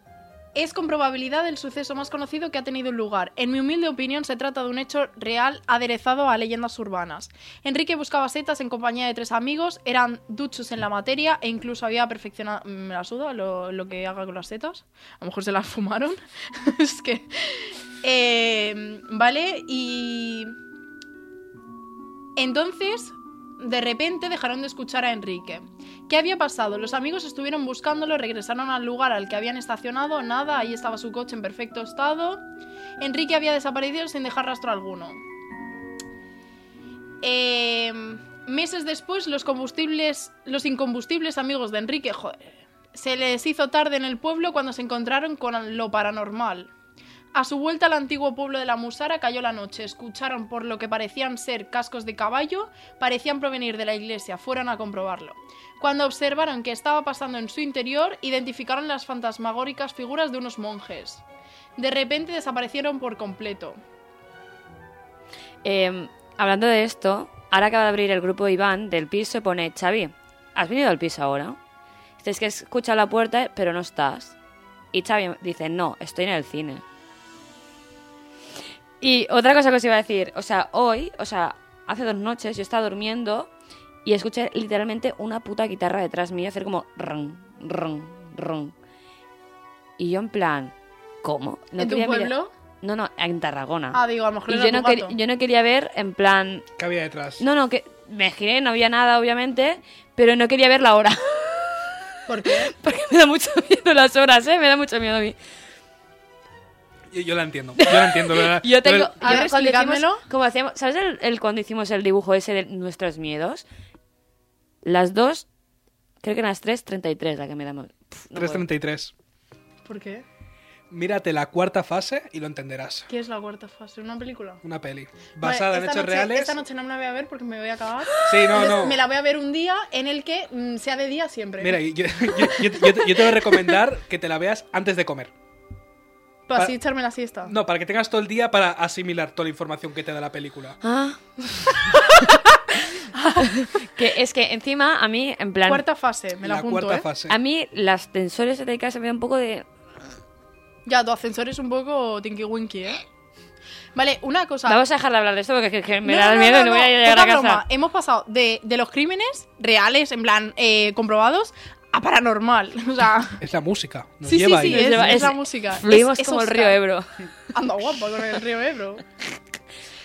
Speaker 3: Es con probabilidad el suceso más conocido que ha tenido lugar. En mi humilde opinión, se trata de un hecho real aderezado a leyendas urbanas. Enrique buscaba setas en compañía de tres amigos, eran duchos en la materia e incluso había perfeccionado. mm, Me la suda lo, lo que haga con las setas. A lo mejor se las fumaron. es que. Eh, vale, y. Entonces, de repente dejaron de escuchar a Enrique. ¿Qué había pasado? Los amigos estuvieron buscándolo, regresaron al lugar al que habían estacionado, nada, ahí estaba su coche en perfecto estado. Enrique había desaparecido sin dejar rastro alguno. Eh, meses después, los combustibles, los incombustibles amigos de Enrique, joder, se les hizo tarde en el pueblo cuando se encontraron con lo paranormal. A su vuelta al antiguo pueblo de la Musara cayó la noche. Escucharon por lo que parecían ser cascos de caballo, parecían provenir de la iglesia, fueron a comprobarlo. Cuando observaron que estaba pasando en su interior, identificaron las fantasmagóricas figuras de unos monjes. De repente desaparecieron por completo.
Speaker 4: Eh, hablando de esto, ahora acaba de abrir el grupo Iván del piso y pone, Xavi, ¿has venido al piso ahora? Dice, es que escucha la puerta, pero no estás. Y Xavi dice, no, estoy en el cine. Y otra cosa que os iba a decir, o sea, hoy, o sea, hace dos noches yo estaba durmiendo y escuché literalmente una puta guitarra detrás mío hacer como ron, ron, ron. Y yo en plan, ¿cómo? No
Speaker 3: ¿En tu
Speaker 4: quería mirar-
Speaker 3: pueblo?
Speaker 4: No, no, en Tarragona.
Speaker 3: Ah, digo, a lo mejor
Speaker 4: Y
Speaker 3: era
Speaker 4: yo
Speaker 3: tu
Speaker 4: no, quer-
Speaker 3: gato.
Speaker 4: yo no quería ver, en plan.
Speaker 5: ¿Qué había detrás?
Speaker 4: No, no, que me giré, no había nada, obviamente, pero no quería ver la hora.
Speaker 3: ¿Por qué?
Speaker 4: Porque me da mucho miedo las horas, ¿eh? Me da mucho miedo a mí.
Speaker 5: Yo, yo la entiendo. Yo la entiendo. la-
Speaker 4: Yo tengo.
Speaker 5: la-
Speaker 3: A
Speaker 4: yo
Speaker 3: ver,
Speaker 4: cuando hicimos-
Speaker 3: explicádmelo.
Speaker 4: como hacíamos, ¿Sabes el, el cuando hicimos el dibujo ese de nuestros miedos? Las dos. Creo que eran las 3.33 la que me da. mal- Pff, no puedo.
Speaker 5: 333.
Speaker 3: ¿Por qué?
Speaker 5: Mírate la cuarta fase y lo entenderás.
Speaker 3: ¿Qué es la cuarta fase? ¿Una película?
Speaker 5: Una peli. Basada
Speaker 3: Vale,
Speaker 5: en
Speaker 3: esta
Speaker 5: hechos
Speaker 3: noche-
Speaker 5: reales.
Speaker 3: Esta noche no me la voy a ver porque me voy a acabar.
Speaker 5: Sí, no,
Speaker 3: Entonces,
Speaker 5: no.
Speaker 3: Me la voy a ver un día en el que mm, sea de día siempre.
Speaker 5: Mira, yo, yo- yo- yo te- yo te voy a recomendar que te la veas antes de comer.
Speaker 3: Para Pues
Speaker 5: pa-
Speaker 3: así echarme la siesta.
Speaker 5: No, para que tengas todo el día para asimilar toda la información que te da la película.
Speaker 4: Ah. que es que encima a mí, en plan.
Speaker 3: Cuarta fase, me la,
Speaker 5: la
Speaker 3: apunto,
Speaker 5: cuarta
Speaker 3: ¿eh?
Speaker 5: fase.
Speaker 4: A mí las tensores ETK se me da un poco de.
Speaker 3: Ya, tu ascensor es un poco tinky winky, ¿eh? Vale, una cosa.
Speaker 4: Vamos a dejar de hablar de esto porque que- que me
Speaker 3: No,
Speaker 4: da
Speaker 3: no, no,
Speaker 4: miedo y
Speaker 3: no,
Speaker 4: no voy a
Speaker 3: no,
Speaker 4: llegar
Speaker 3: poca
Speaker 4: a casa.
Speaker 3: broma. Hemos pasado de, de los crímenes reales, en plan, eh, comprobados, a paranormal. O sea,
Speaker 5: Es la música. Nos
Speaker 3: sí, sí,
Speaker 5: lleva
Speaker 3: sí,
Speaker 5: ahí.
Speaker 3: es,
Speaker 4: lleva-
Speaker 3: es
Speaker 4: es-
Speaker 3: la música.
Speaker 4: Fluimos
Speaker 3: Es- es
Speaker 4: como el
Speaker 3: hostal.
Speaker 4: río Ebro.
Speaker 3: Anda guapa con el río Ebro.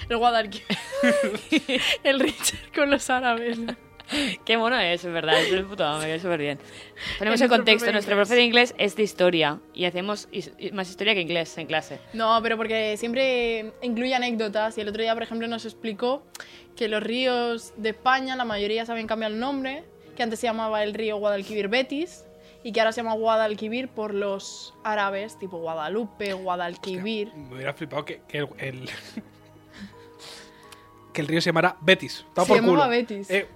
Speaker 3: El Guadalquivir. el Richard con los árabes.
Speaker 4: Qué mono es, en verdad. Es el puto amo, me cae súper bien. Ponemos
Speaker 3: Es
Speaker 4: el
Speaker 3: nuestro profe
Speaker 4: contexto.
Speaker 3: de
Speaker 4: Nuestro
Speaker 3: inglés.
Speaker 4: profe de inglés es de historia y hacemos his- y- más historia que inglés en clase.
Speaker 3: No, pero porque siempre incluye anécdotas y el otro día, por ejemplo, nos explicó que los ríos de España, la mayoría se habían cambiado el nombre, que antes se llamaba el río Guadalquivir Betis y que ahora se llama Guadalquivir por los árabes, tipo Guadalupe, Guadalquivir.
Speaker 5: Me hubiera flipado que, que el, el- que el río se llamara Betis. Toma
Speaker 3: Se
Speaker 5: por
Speaker 3: llamaba
Speaker 5: culo.
Speaker 3: Betis.
Speaker 5: Eh,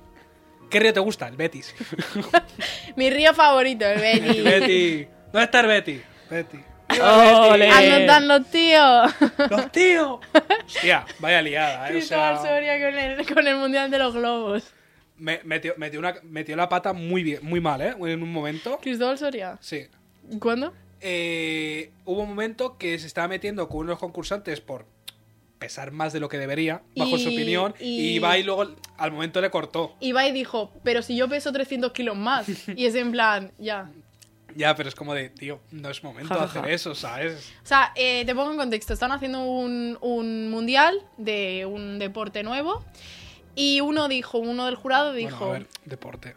Speaker 5: ¿Qué río te gusta? El Betis.
Speaker 3: Mi río favorito, el
Speaker 5: El
Speaker 3: Betis.
Speaker 5: Betis. ¿Dónde está el Betis? Betis.
Speaker 4: ¡Ole!
Speaker 3: Anotando, tío.
Speaker 5: ¡Los tíos! Hostia, vaya liada, eh. O
Speaker 3: Cristóbal
Speaker 5: sea,
Speaker 3: Soria con el, con el Mundial de los Globos.
Speaker 5: me- metió, metió una- metió la pata muy bien, muy mal, ¿eh? En un momento.
Speaker 3: Cristóbal Soria.
Speaker 5: Sí.
Speaker 3: ¿Cuándo?
Speaker 5: eh, hubo un momento que se estaba metiendo con unos concursantes por pesar más de lo que debería, bajo su
Speaker 3: Y-
Speaker 5: opinión,
Speaker 3: y-
Speaker 5: y Ibai luego al momento le cortó.
Speaker 3: Ibai dijo, pero si yo peso 300 kilos más. Y es en plan, ya.
Speaker 5: Ya, pero es como de, tío, no es momento de
Speaker 4: Ja, ja,
Speaker 5: hacer
Speaker 4: ja.
Speaker 5: eso, ¿sabes?
Speaker 3: O sea, eh, te pongo en contexto. Están haciendo un, un mundial de un deporte nuevo. Y uno dijo, uno del jurado
Speaker 5: Bueno,
Speaker 3: dijo,
Speaker 5: a ver, deporte.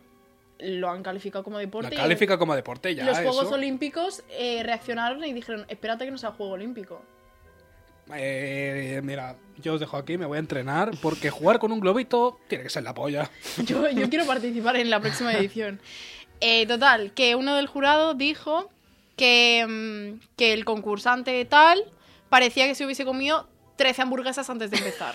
Speaker 3: lo han calificado como
Speaker 5: La
Speaker 3: deporte. y-
Speaker 5: califica como deporte ya.
Speaker 3: los Juegos
Speaker 5: eso.
Speaker 3: Olímpicos eh, reaccionaron y dijeron, espérate que no sea Juego Olímpico.
Speaker 5: Eh, mira, yo os dejo aquí, me voy a entrenar, porque jugar con un globito tiene que ser la polla.
Speaker 3: Yo, yo quiero participar en la próxima edición. Eh, total, que uno del jurado dijo que, mm, que el concursante tal parecía que se hubiese comido 13 hamburguesas antes de empezar.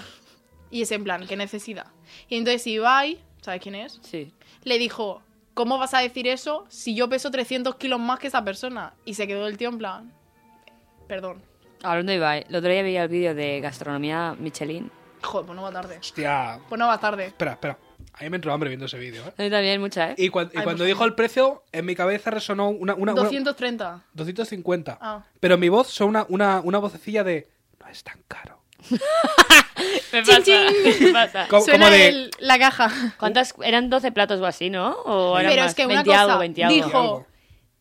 Speaker 3: Y es en plan, ¿qué necesidad? Y entonces Ibai, ¿sabes quién es?
Speaker 4: Sí.
Speaker 3: Le dijo, ¿cómo vas a decir eso si yo peso 300 kilos más que esa persona? Y se quedó el tío en plan, perdón.
Speaker 4: Hablando de Ibai, el otro día veía el vídeo de gastronomía Michelin.
Speaker 3: Joder, pues no va tarde.
Speaker 5: Hostia.
Speaker 3: Pues no va tarde.
Speaker 5: Espera, espera. A mí me entró hambre viendo ese vídeo, ¿eh?
Speaker 4: A mí también mucha, ¿eh?
Speaker 5: Y, cuan- y
Speaker 3: Ay,
Speaker 5: cuando
Speaker 3: por
Speaker 5: dijo
Speaker 3: favor.
Speaker 5: el precio, en mi cabeza resonó una... una, una-
Speaker 3: 230.
Speaker 5: 250.
Speaker 3: Ah.
Speaker 5: Pero en mi voz son una, una, una vocecilla de... No es tan caro.
Speaker 4: Me
Speaker 3: Chin,
Speaker 4: pasa.
Speaker 3: chin.
Speaker 4: me pasa.
Speaker 5: Co- como
Speaker 3: Suena
Speaker 5: de-
Speaker 3: el- la caja.
Speaker 4: ¿Cuántas? Eran 12 platos o así, ¿no? O eran
Speaker 3: Pero
Speaker 4: más?
Speaker 3: es que una
Speaker 4: 20 algo,
Speaker 3: cosa,
Speaker 4: 20 algo.
Speaker 3: dijo,
Speaker 5: Algo.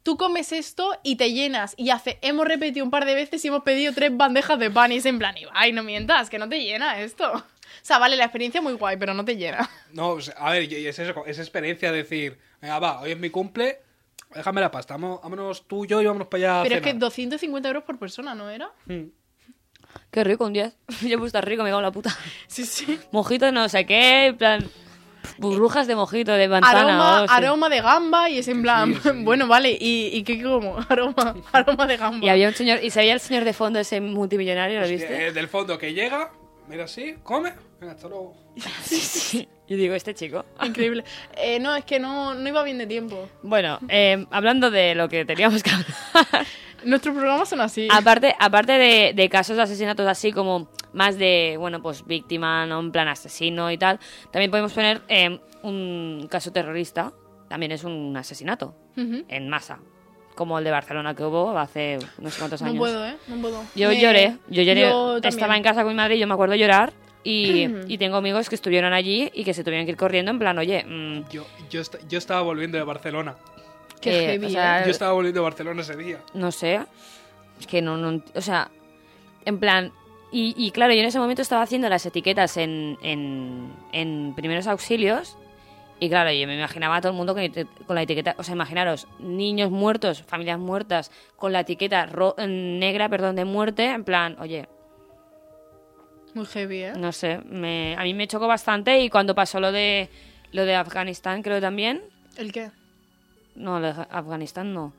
Speaker 3: tú comes esto y te llenas. Y hace, hemos repetido un par de veces y hemos pedido tres bandejas de pan. Y es en plan, ay, no mientas, que no te llena esto. O sea, vale, la experiencia es muy guay, pero no te llena.
Speaker 5: No, o sea, a ver, y- y es eso, es experiencia decir... Venga, va, hoy es mi cumple, déjame la pasta, vamo- vámonos tú, yo y vámonos para allá a
Speaker 3: Pero es que
Speaker 5: cenar.
Speaker 3: 250 euros por persona, ¿no era?
Speaker 4: Qué rico un 10. Yo pues está rico, me cago en la puta.
Speaker 3: Sí, sí.
Speaker 4: Mojito no sé qué, en plan... Burbujas de mojito, de manzana.
Speaker 3: Aroma,
Speaker 4: o sí.
Speaker 3: aroma de gamba y es en plan, bueno, vale, ¿y, y qué como? Aroma, aroma de gamba.
Speaker 4: Y había un señor... ¿Y se veía el señor de fondo ese multimillonario, lo viste?
Speaker 5: Eh, del fondo que llega, mira así, come, venga, hasta luego.
Speaker 4: Y digo, este chico.
Speaker 3: Increíble. Eh, no, es que no, no iba bien de tiempo.
Speaker 4: Bueno, eh, hablando de lo que teníamos que hablar.
Speaker 3: Nuestros programas son así.
Speaker 4: aparte aparte de, de casos de asesinatos así como más de, bueno, pues víctima, no en plan asesino y tal, también podemos poner eh, un caso terrorista, también es un asesinato
Speaker 3: Ujú.
Speaker 4: en masa, como el de Barcelona que hubo hace no sé cuántos
Speaker 3: No
Speaker 4: años.
Speaker 3: puedo, ¿eh? No puedo.
Speaker 4: Yo
Speaker 3: Me-
Speaker 4: lloré, yo lloré,
Speaker 3: yo también.
Speaker 4: estaba en casa con mi madre y yo me acuerdo llorar y, y tengo amigos que estuvieron allí y que se tuvieron que ir corriendo en plan, oye, mm,
Speaker 5: Yo, yo, est- yo estaba volviendo de Barcelona.
Speaker 3: Qué
Speaker 4: eh,
Speaker 3: heavy,
Speaker 4: o sea,
Speaker 5: Yo estaba volviendo de Barcelona ese día.
Speaker 4: no sé, es que no, no, ent- o sea, en plan, y, y claro, yo en ese momento estaba haciendo las etiquetas en, en, en primeros auxilios y claro, yo me imaginaba a todo el mundo con, ete- con la etiqueta, o sea, imaginaros, niños muertos, familias muertas, con la etiqueta ro- negra, perdón, de muerte, en plan, oye,
Speaker 3: Muy heavy, ¿eh?
Speaker 4: no sé, me- a mí me chocó bastante y cuando pasó lo de, lo de Afganistán, creo también,
Speaker 3: ¿El qué?
Speaker 4: no, lo de Afganistán no,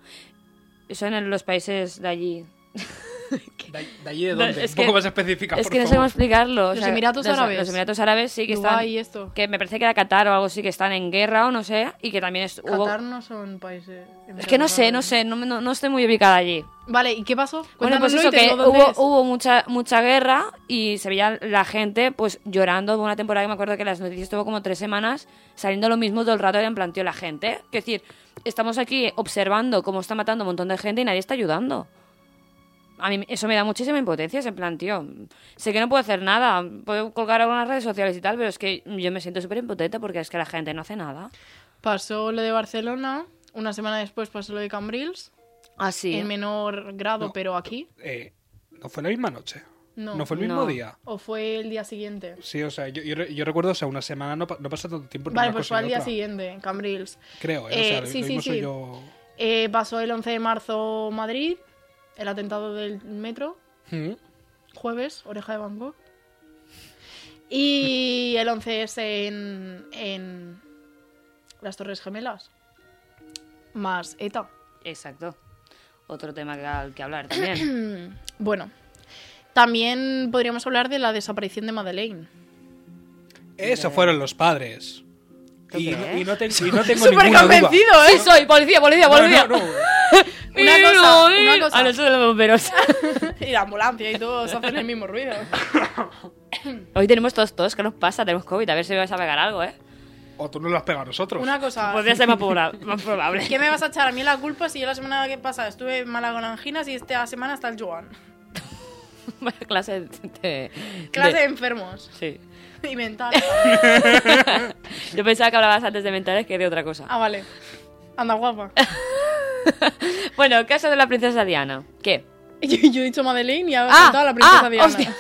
Speaker 4: eso en el- los países de allí,
Speaker 5: ¿De, de allí de
Speaker 4: No,
Speaker 5: dónde?
Speaker 4: es
Speaker 5: Un
Speaker 4: que-
Speaker 5: poco más específica,
Speaker 4: Es
Speaker 5: por
Speaker 4: que no sé cómo
Speaker 5: favor.
Speaker 4: explicarlo. o
Speaker 3: Los
Speaker 4: sea,
Speaker 3: Emiratos
Speaker 4: los-
Speaker 3: Árabes.
Speaker 4: Los Emiratos Árabes sí que
Speaker 3: Dubái,
Speaker 4: están.
Speaker 3: esto.
Speaker 4: Que me parece que era Qatar o algo así, que están en guerra o no sé. Y que también es, hubo-
Speaker 3: Qatar no son países.
Speaker 4: Es que no sé, no sé, no, me- no- no estoy muy ubicada allí.
Speaker 3: ¿eh? Vale, ¿y qué pasó?
Speaker 4: Bueno, pues
Speaker 3: Cuéntanoslo
Speaker 4: eso
Speaker 3: y te
Speaker 4: que
Speaker 3: digo dónde
Speaker 4: hubo,
Speaker 3: es.
Speaker 4: hubo mucha, mucha guerra y se veía la gente pues llorando. Hubo una temporada que me acuerdo que las noticias estuvo como tres semanas saliendo lo mismo todo el rato y en planteo la gente. Es decir, estamos aquí observando cómo está matando un montón de gente y nadie está ayudando. A mí eso me da muchísima impotencia, es en plan, tío, sé que no puedo hacer nada, puedo colgar algunas redes sociales y tal, pero es que yo me siento súper impotente porque es que la gente no hace nada.
Speaker 3: Pasó lo de Barcelona, una semana después pasó lo de Cambrils,
Speaker 4: Así.
Speaker 3: en menor grado,
Speaker 5: No.
Speaker 3: pero aquí.
Speaker 5: Eh, ¿No fue la misma noche?
Speaker 3: No.
Speaker 5: fue el mismo
Speaker 4: No.
Speaker 5: día?
Speaker 3: ¿O fue el día siguiente?
Speaker 5: Sí, o sea, yo, yo, re- yo recuerdo, o sea, una semana no, pa- no pasa tanto tiempo. entre
Speaker 3: Vale,
Speaker 5: una
Speaker 3: pues
Speaker 5: cosa
Speaker 3: fue
Speaker 5: y
Speaker 3: al día
Speaker 5: otra.
Speaker 3: siguiente, Cambrils.
Speaker 5: Creo, ¿eh?
Speaker 3: Eh,
Speaker 5: o sea, lo
Speaker 3: sí, sí,
Speaker 5: mismo soy
Speaker 3: sí.
Speaker 5: yo...
Speaker 3: Eh, pasó el 11 de marzo Madrid, el atentado del metro,
Speaker 5: ¿Mm?
Speaker 3: jueves, oreja de Van Gogh. Y el 11 es en, en las Torres Gemelas. Más ETA.
Speaker 4: Exacto. Otro tema que, al que hablar también.
Speaker 3: Mm, Bueno, también podríamos hablar de la desaparición de Madeleine. Eh.
Speaker 5: Esos fueron los padres. Y,
Speaker 4: ¿Tú crees?
Speaker 5: y no, ten- y no tengo
Speaker 3: Súper
Speaker 5: ninguna duda.
Speaker 3: convencido,
Speaker 4: ¡Sí soy! ¡Policía, policía,
Speaker 5: No,
Speaker 4: policía!
Speaker 5: no, no.
Speaker 3: Una cosa, una cosa.
Speaker 4: A nosotros los bomberos.
Speaker 3: Y la ambulancia y todos hacen el mismo ruido.
Speaker 4: Hoy tenemos todos tos, ¿qué nos pasa? Tenemos COVID, a ver si me vas a pegar algo, ¿eh?
Speaker 5: O tú no lo has pegado a nosotros.
Speaker 3: Una cosa,
Speaker 4: Podría ser más, proba- más probable.
Speaker 3: ¿qué me vas a echar a mí la culpa si yo la semana que pasa estuve mala con anginas y esta semana está el Joan?
Speaker 4: Vaya clase de...
Speaker 3: Clase de
Speaker 4: de-
Speaker 3: enfermos
Speaker 4: Sí.
Speaker 3: y mental.
Speaker 4: Yo pensaba que hablabas antes de mentales que de otra cosa.
Speaker 3: Ah, vale. Anda guapa.
Speaker 4: Bueno, el caso de la princesa Diana. ¿Qué?
Speaker 3: Yo, yo he dicho Madeleine y ahora he contado a la princesa
Speaker 4: ah,
Speaker 3: Diana.
Speaker 4: hostia.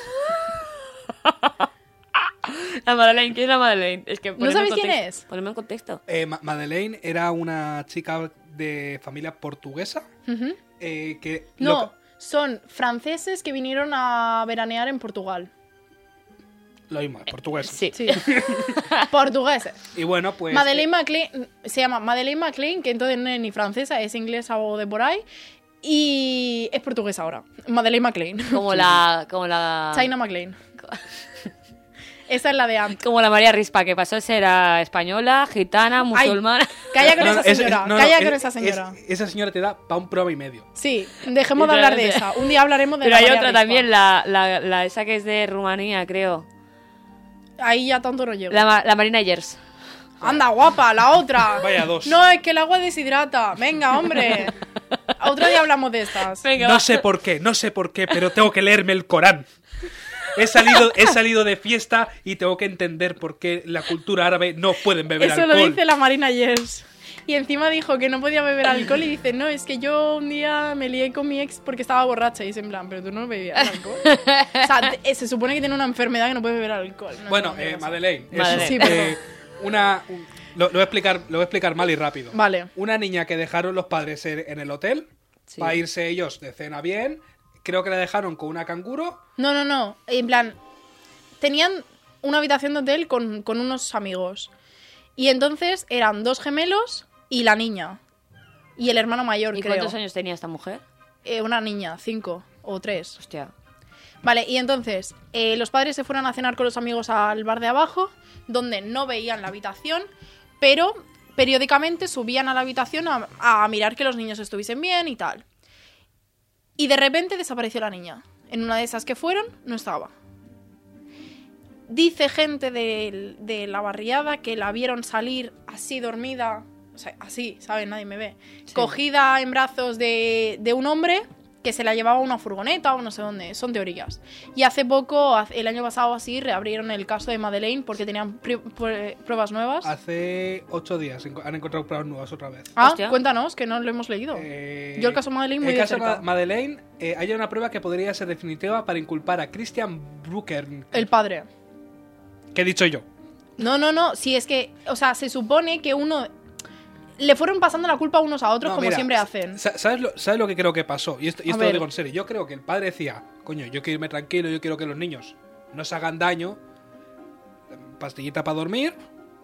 Speaker 4: La Madeleine, ¿quién es la Madeleine? Es que ponedme en
Speaker 3: sabéis quién
Speaker 4: contexto.
Speaker 3: es?
Speaker 4: Ponedme en contexto.
Speaker 5: Eh, Ma- Madeleine era una chica de familia portuguesa
Speaker 3: Ujú.
Speaker 5: eh, que...
Speaker 3: No,
Speaker 5: Lo,
Speaker 3: son franceses que vinieron a veranear en Portugal.
Speaker 5: lo mismo, es portuguesa.
Speaker 4: Sí.
Speaker 3: Sí. Portugueses.
Speaker 5: Y bueno, pues...
Speaker 3: Madeleine McLean, se llama Madeleine McLean, que entonces no es ni francesa, es inglesa o de por ahí. Y es portuguesa ahora. Madeleine McLean.
Speaker 4: Como la. Como la.
Speaker 3: China McLean. Esa es la de antes.
Speaker 4: Como la María Rispa, que pasó a ser a española, gitana,
Speaker 3: Ay,
Speaker 4: musulmana.
Speaker 3: Calla con
Speaker 5: No, no,
Speaker 3: esa
Speaker 5: es- es-
Speaker 3: señora.
Speaker 5: no, no,
Speaker 3: calla
Speaker 5: es-
Speaker 3: con esa
Speaker 5: es-
Speaker 3: señora.
Speaker 5: esa señora te da pa' un programa y medio.
Speaker 3: Sí, dejemos de hablar de
Speaker 4: Literalmente.
Speaker 3: esa. Un día hablaremos de
Speaker 4: Pero
Speaker 3: la
Speaker 4: hay
Speaker 3: María
Speaker 4: otra
Speaker 3: Rispa.
Speaker 4: también, la, la, la esa que es de Rumanía, creo.
Speaker 3: Ahí ya tanto no llego.
Speaker 4: La, ma- la Marina Yers.
Speaker 3: Anda, guapa, la otra.
Speaker 5: Vaya dos.
Speaker 3: No, es que el agua deshidrata. Venga, hombre. Otro día hablamos de estas.
Speaker 4: Venga,
Speaker 5: No
Speaker 4: va.
Speaker 5: sé por qué, no sé por qué, pero tengo que leerme el Corán. He salido, he salido de fiesta y tengo que entender por qué la cultura árabe no pueden beber
Speaker 3: Eso
Speaker 5: alcohol.
Speaker 3: lo dice la Marina Yers. Y encima dijo que no podía beber alcohol y dice, no, es que yo un día me lié con mi ex porque estaba borracha. Y dice, en plan, pero tú no bebías alcohol. o sea, te- eh, se supone que tiene una enfermedad que no puede beber alcohol. No,
Speaker 5: Bueno,
Speaker 3: no, no
Speaker 5: eh,
Speaker 3: sé.
Speaker 5: Madeleine, es,
Speaker 4: Madeleine.
Speaker 3: Sí,
Speaker 5: eh,
Speaker 3: perdón.
Speaker 5: una, un- lo, lo voy a explicar, lo voy a explicar mal y rápido.
Speaker 3: Vale.
Speaker 5: Una niña que dejaron los padres en, en el hotel
Speaker 4: Sí.
Speaker 5: para irse ellos de cena bien. Creo que la dejaron con una canguro.
Speaker 3: No, no, no. En plan, tenían una habitación de hotel con, con unos amigos. Y entonces eran dos gemelos y la niña. Y el hermano mayor,
Speaker 4: ¿Y
Speaker 3: creo.
Speaker 4: cuántos años tenía esta mujer?
Speaker 3: Eh, una niña, cinco o tres.
Speaker 4: Hostia.
Speaker 3: Vale, y entonces eh, los padres se fueron a cenar con los amigos al bar de abajo, donde no veían la habitación, pero periódicamente subían a la habitación a, a mirar que los niños estuviesen bien y tal. Y de repente desapareció la niña. En una de esas que fueron, no estaba. Dice gente del- de, la barriada que la vieron salir así dormida, o sea, así, ¿sabes? Nadie me ve. Cogida en brazos de, de un hombre que se la llevaba a una furgoneta o no sé dónde, son teorías. Y hace poco, hace- el año pasado así, reabrieron el caso de Madeleine porque tenían pri- prue- pruebas nuevas.
Speaker 5: Ah, Hace ocho días enco- han encontrado pruebas nuevas otra vez.
Speaker 3: Ah,
Speaker 4: Hostia.
Speaker 3: cuéntanos, que no lo hemos leído.
Speaker 5: Eh,
Speaker 3: Yo el caso Madeleine muy
Speaker 5: el
Speaker 3: de
Speaker 5: caso
Speaker 3: cerca.
Speaker 5: Ma- Madeleine, eh, hay una prueba que podría ser definitiva para inculpar a Christian Bruckner.
Speaker 3: El padre.
Speaker 5: ¿Qué he dicho yo?
Speaker 3: No, no, no. Si es que, o sea, se supone que uno. Le fueron pasando la culpa unos a otros,
Speaker 5: No,
Speaker 3: como
Speaker 5: mira,
Speaker 3: siempre hacen.
Speaker 5: sa- ¿sabes lo, ¿Sabes lo que creo que pasó? Y esto, y
Speaker 3: A
Speaker 5: esto lo
Speaker 3: ver.
Speaker 5: digo en serio. Yo creo que el padre decía, coño, yo quiero irme tranquilo, yo quiero que los niños no se hagan daño. Pastillita para dormir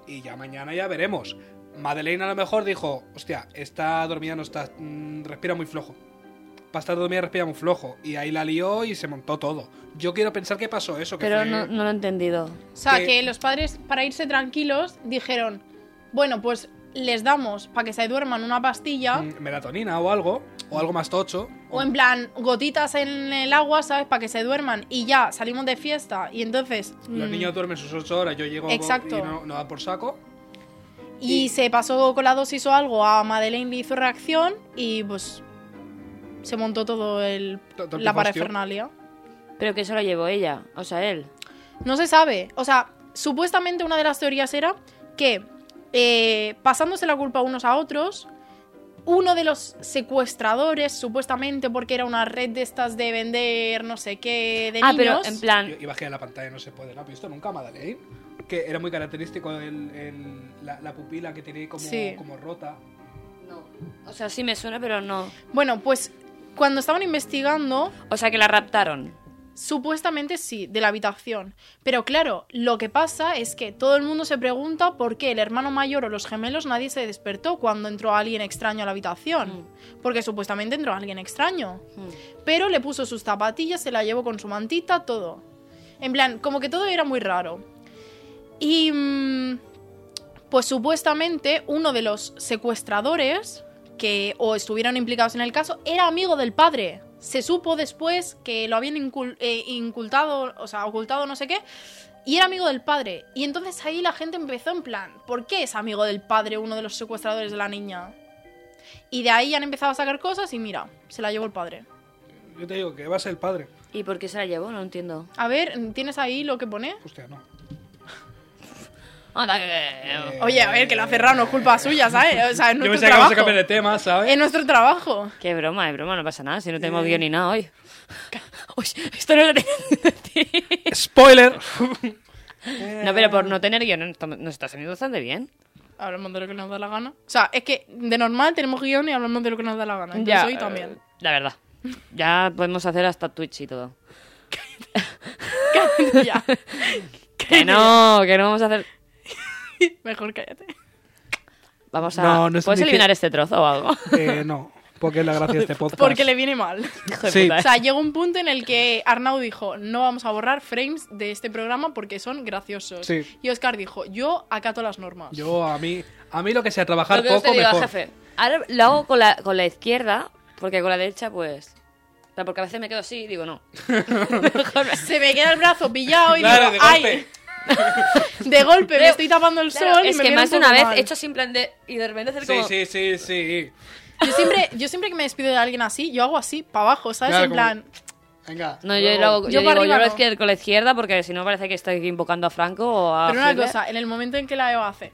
Speaker 5: y ya mañana ya veremos. Madeleine a lo mejor dijo, hostia, está dormida, no está, mm, respira muy flojo. Para estar dormida respira muy flojo. Y ahí la lió y se montó todo. Yo quiero pensar que pasó eso. Que
Speaker 4: Pero
Speaker 5: fue-
Speaker 4: no, no lo he entendido.
Speaker 3: O sea,
Speaker 5: que-
Speaker 3: que... los padres, para irse tranquilos, dijeron: Bueno, pues les damos para que se duerman una pastilla.
Speaker 5: mm, melatonina o algo, o algo más tocho.
Speaker 3: O en plan, gotitas en el agua, ¿sabes? Para que se duerman. Y ya, salimos de fiesta. Y entonces.
Speaker 5: Los
Speaker 3: mm,
Speaker 5: niños duermen sus 8 horas, yo llego
Speaker 3: Exacto.
Speaker 5: y no, no dan por saco.
Speaker 3: Y,
Speaker 5: Y-
Speaker 3: se pasó con la dosis o algo a Madeleine, le hizo reacción y pues se montó todo el
Speaker 5: Todo el
Speaker 3: la
Speaker 5: pifostio.
Speaker 3: parafernalia.
Speaker 4: Pero que eso lo llevó ella, o sea, él.
Speaker 3: No se sabe. O sea, supuestamente una de las teorías era que eh, pasándose la culpa unos a otros, uno de los secuestradores, supuestamente porque era una red de estas de vender no sé qué de
Speaker 4: Ah, pero
Speaker 3: niños.
Speaker 4: en
Speaker 5: Yo-
Speaker 4: plan.
Speaker 5: Y bajé a la pantalla, no se puede, ¿no has visto nunca Madeleine? Que era muy característico el, el- la, la pupila que tiene como,
Speaker 3: Sí.
Speaker 5: como rota.
Speaker 4: O sea, sí me suena, pero no.
Speaker 3: Bueno, pues cuando estaban investigando,
Speaker 4: O sea, que la raptaron.
Speaker 3: Supuestamente sí, de la habitación. Pero claro, lo que pasa es que todo el mundo se pregunta por qué el hermano mayor o los gemelos nadie se despertó cuando entró alguien extraño a la habitación. Porque supuestamente entró alguien extraño.
Speaker 4: Hmm.
Speaker 3: Pero le puso sus zapatillas, se la llevó con su mantita, todo. En plan, como que todo era muy raro. Y... mm, pues supuestamente uno de los secuestradores que o estuvieron implicados en el caso era amigo del padre. Se supo después que lo habían incul- eh, incultado, o sea, ocultado no sé qué, y era amigo del padre. Y entonces ahí la gente empezó en plan, ¿por qué es amigo del padre uno de los secuestradores de la niña? Y de ahí han empezado a sacar cosas y mira, se la llevó el padre.
Speaker 5: Yo te digo que va a ser el padre.
Speaker 4: ¿Y por qué se la llevó? No entiendo.
Speaker 3: A ver, ¿tienes ahí lo que pone?
Speaker 5: Hostia, no.
Speaker 4: Anda, que-
Speaker 3: Ah. Oye, a ver, que lo ha cerrado, no es culpa suya, ¿sabes? O sea, es
Speaker 5: Eh, Yo
Speaker 3: nuestro
Speaker 5: pensaba que vamos a
Speaker 3: trabajo.
Speaker 5: cambiar de ¿eh? tema, ¿sabes?
Speaker 3: Es nuestro trabajo.
Speaker 4: Qué broma, es broma, no pasa nada. Si no
Speaker 5: Eh.
Speaker 4: tenemos guión ni nada hoy. Uy, esto no lo tenía que decir.
Speaker 5: ¡Spoiler! Eh.
Speaker 4: No, pero por no tener guión estamos- nos está saliendo bastante bien.
Speaker 3: Hablamos de lo que nos da la gana. O sea, es que de normal tenemos guión y hablamos de lo que nos da la
Speaker 5: Ah,
Speaker 3: gana. Entonces hoy también.
Speaker 4: eh, La verdad. Ya podemos hacer hasta Twitch y todo.
Speaker 3: Ya.
Speaker 4: Que no, que no vamos a hacer.
Speaker 3: Mejor cállate.
Speaker 4: Vamos a.
Speaker 5: No, no es
Speaker 4: ¿Puedes
Speaker 5: ni que-
Speaker 4: eliminar este trozo o algo?
Speaker 5: Eh, no, porque es la gracia de este podcast.
Speaker 3: Porque le viene mal.
Speaker 4: Hijo de
Speaker 5: Sí.
Speaker 4: puta,
Speaker 3: O
Speaker 4: eh.
Speaker 3: sea, llegó un punto en el que Arnau dijo, no vamos a borrar frames de este programa porque son graciosos.
Speaker 5: Sí.
Speaker 3: Y Oscar dijo, yo acato las normas.
Speaker 5: Yo, a mí, a mí lo que sea trabajar
Speaker 4: Lo que
Speaker 5: poco,
Speaker 4: usted diga,
Speaker 5: mejor.
Speaker 4: jefe. Ahora lo hago con la, con la izquierda, porque con la derecha, pues. o sea, Porque a veces me quedo así y digo no. Mejor me-
Speaker 3: Se me queda el brazo pillado y digo,
Speaker 5: Claro, de
Speaker 3: "Ay".
Speaker 5: golpe.
Speaker 3: De golpe, me
Speaker 4: Creo-
Speaker 3: estoy tapando el
Speaker 4: Claro,
Speaker 3: sol y
Speaker 4: es
Speaker 3: me
Speaker 4: que
Speaker 3: viene
Speaker 4: más de
Speaker 3: un
Speaker 4: una
Speaker 3: poco
Speaker 4: vez
Speaker 3: mal.
Speaker 4: he hecho sin plan de. Y de repente hacer
Speaker 5: Sí,
Speaker 4: como.
Speaker 5: sí, sí, sí.
Speaker 3: Yo siempre, yo siempre que me despido de alguien así, yo hago así, para abajo, ¿sabes?
Speaker 5: Claro,
Speaker 3: en
Speaker 5: como-
Speaker 3: plan,
Speaker 5: Venga.
Speaker 4: No, yo, lo
Speaker 5: luego-
Speaker 4: hago-
Speaker 3: Yo
Speaker 4: yo
Speaker 3: para
Speaker 4: digo, yo
Speaker 3: arriba
Speaker 4: lo
Speaker 3: no.
Speaker 4: izquier- con la izquierda porque si no parece que estoy invocando a Franco o a.
Speaker 3: Pero una
Speaker 5: ah,
Speaker 4: Hitler.
Speaker 3: cosa, en el momento en que la Eva hace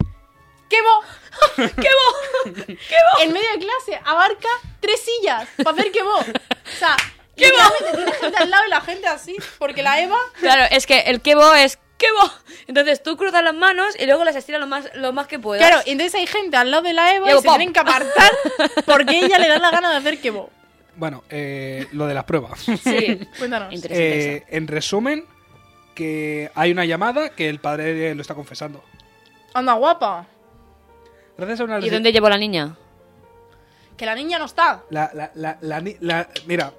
Speaker 3: ¡Quemo! ¡Quemo! ¡Quemo! En medio de clase abarca tres sillas para hacer quemo. O sea, literalmente tiene gente al lado y la gente así. Porque la Eva.
Speaker 4: Claro, es que el quebo es quebo. Entonces tú cruzas las manos y luego las estiras lo más, lo más que puedas.
Speaker 3: Claro, y entonces hay gente al lado de la Eva
Speaker 4: Digo,
Speaker 3: y se
Speaker 4: Pues pop.
Speaker 3: tienen que apartar porque ella le da la gana de hacer quemo.
Speaker 5: Bueno, eh, lo de las pruebas.
Speaker 4: Sí.
Speaker 3: Cuéntanos.
Speaker 4: Interesante.
Speaker 5: Eh, en resumen, que hay una llamada que el padre lo está confesando.
Speaker 3: Anda, guapa.
Speaker 5: Gracias a una
Speaker 4: ¿Y dónde llevó la niña?
Speaker 3: Que la niña no está.
Speaker 5: La, la, la, la ni- la- mira,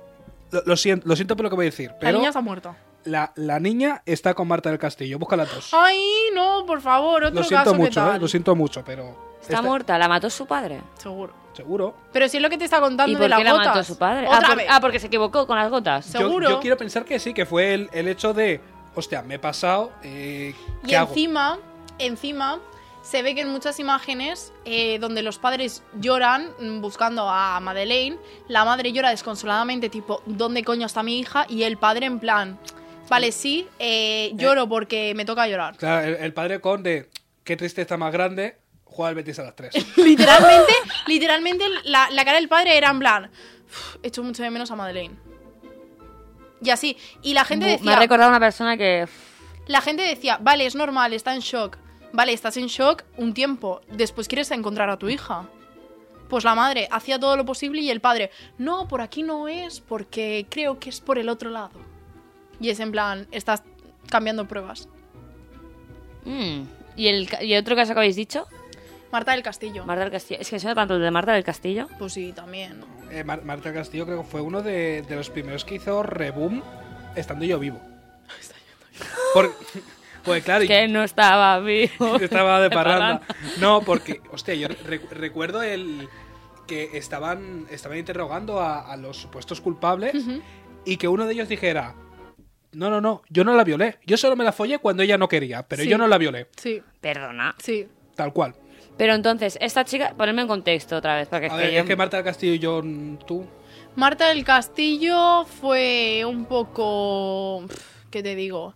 Speaker 5: lo, lo siento, lo siento por lo que voy a decir,
Speaker 3: La
Speaker 5: pero
Speaker 3: niña está muerta.
Speaker 5: la, la niña está con Marta del Castillo. Busca las dos.
Speaker 3: Ay, no, por favor, Ah, otro
Speaker 5: Lo siento
Speaker 3: caso que
Speaker 5: mucho,
Speaker 3: tal.
Speaker 5: eh, lo siento mucho, pero.
Speaker 4: Está
Speaker 5: este-
Speaker 4: muerta, la mató su padre.
Speaker 3: Seguro.
Speaker 5: Seguro.
Speaker 3: Pero si es lo que te está contando
Speaker 4: ¿Y
Speaker 3: de
Speaker 4: por
Speaker 3: las
Speaker 4: qué la mató
Speaker 3: gotas.
Speaker 4: su padre? Ah,
Speaker 3: Otra
Speaker 4: por-
Speaker 3: vez.
Speaker 4: ah, porque se equivocó con las gotas.
Speaker 5: Yo-
Speaker 3: Seguro.
Speaker 5: Yo, quiero pensar que sí, que fue el, el hecho de. Hostia, me he pasado. eh,
Speaker 3: Y
Speaker 5: ¿Qué hago?
Speaker 3: encima, encima, se ve que en muchas imágenes eh, donde los padres lloran mm, buscando a Madeleine, la madre llora desconsoladamente, tipo, ¿dónde coño está mi hija? Y el padre en plan, vale, sí, eh, lloro porque me toca llorar.
Speaker 5: Claro, el, el padre con de. Qué triste está más grande. Juega al Betis a las 3.
Speaker 3: literalmente, literalmente la, la cara del padre era en plan, "Uf, echo mucho de menos a Madeleine. Y así, y la gente
Speaker 4: Bu- Me
Speaker 3: decía...
Speaker 4: ha recordado una persona que.
Speaker 3: La gente decía, vale, es normal, está en shock. Vale, estás en shock un tiempo. Después quieres encontrar a tu hija. Pues la madre hacía todo lo posible y el padre, no, por aquí no es, porque creo que es por el otro lado. Y es en plan, estás cambiando pruebas.
Speaker 4: Mm. ¿Y el, ca- y otro caso que habéis dicho?
Speaker 3: Marta del Castillo.
Speaker 4: Marta del Castillo. Es que suena tanto el de Marta del Castillo.
Speaker 3: pues sí, también.
Speaker 5: Eh, Mar- Marta del Castillo creo que fue uno de, de los primeros que hizo Reboom estando yo vivo. Por- pues claro, y-
Speaker 4: Que no estaba vivo.
Speaker 5: estaba de
Speaker 4: parranda.
Speaker 5: parranda. No, porque, hostia, yo recu- recuerdo el que estaban, estaban interrogando a, a los supuestos culpables y que uno de ellos dijera, no, no, no, yo no la violé, yo solo me la follé cuando ella no quería, pero
Speaker 3: Sí.
Speaker 5: yo no la violé,
Speaker 3: Sí,
Speaker 4: Perdona.
Speaker 3: sí.
Speaker 5: tal cual.
Speaker 4: Pero entonces, esta chica. Ponedme en contexto otra vez. Porque es
Speaker 5: a
Speaker 4: que
Speaker 5: ver,
Speaker 4: yo-
Speaker 5: es que Marta del Castillo y yo, mm, tú,
Speaker 3: Marta del Castillo fue un poco... pf, ¿Qué te digo?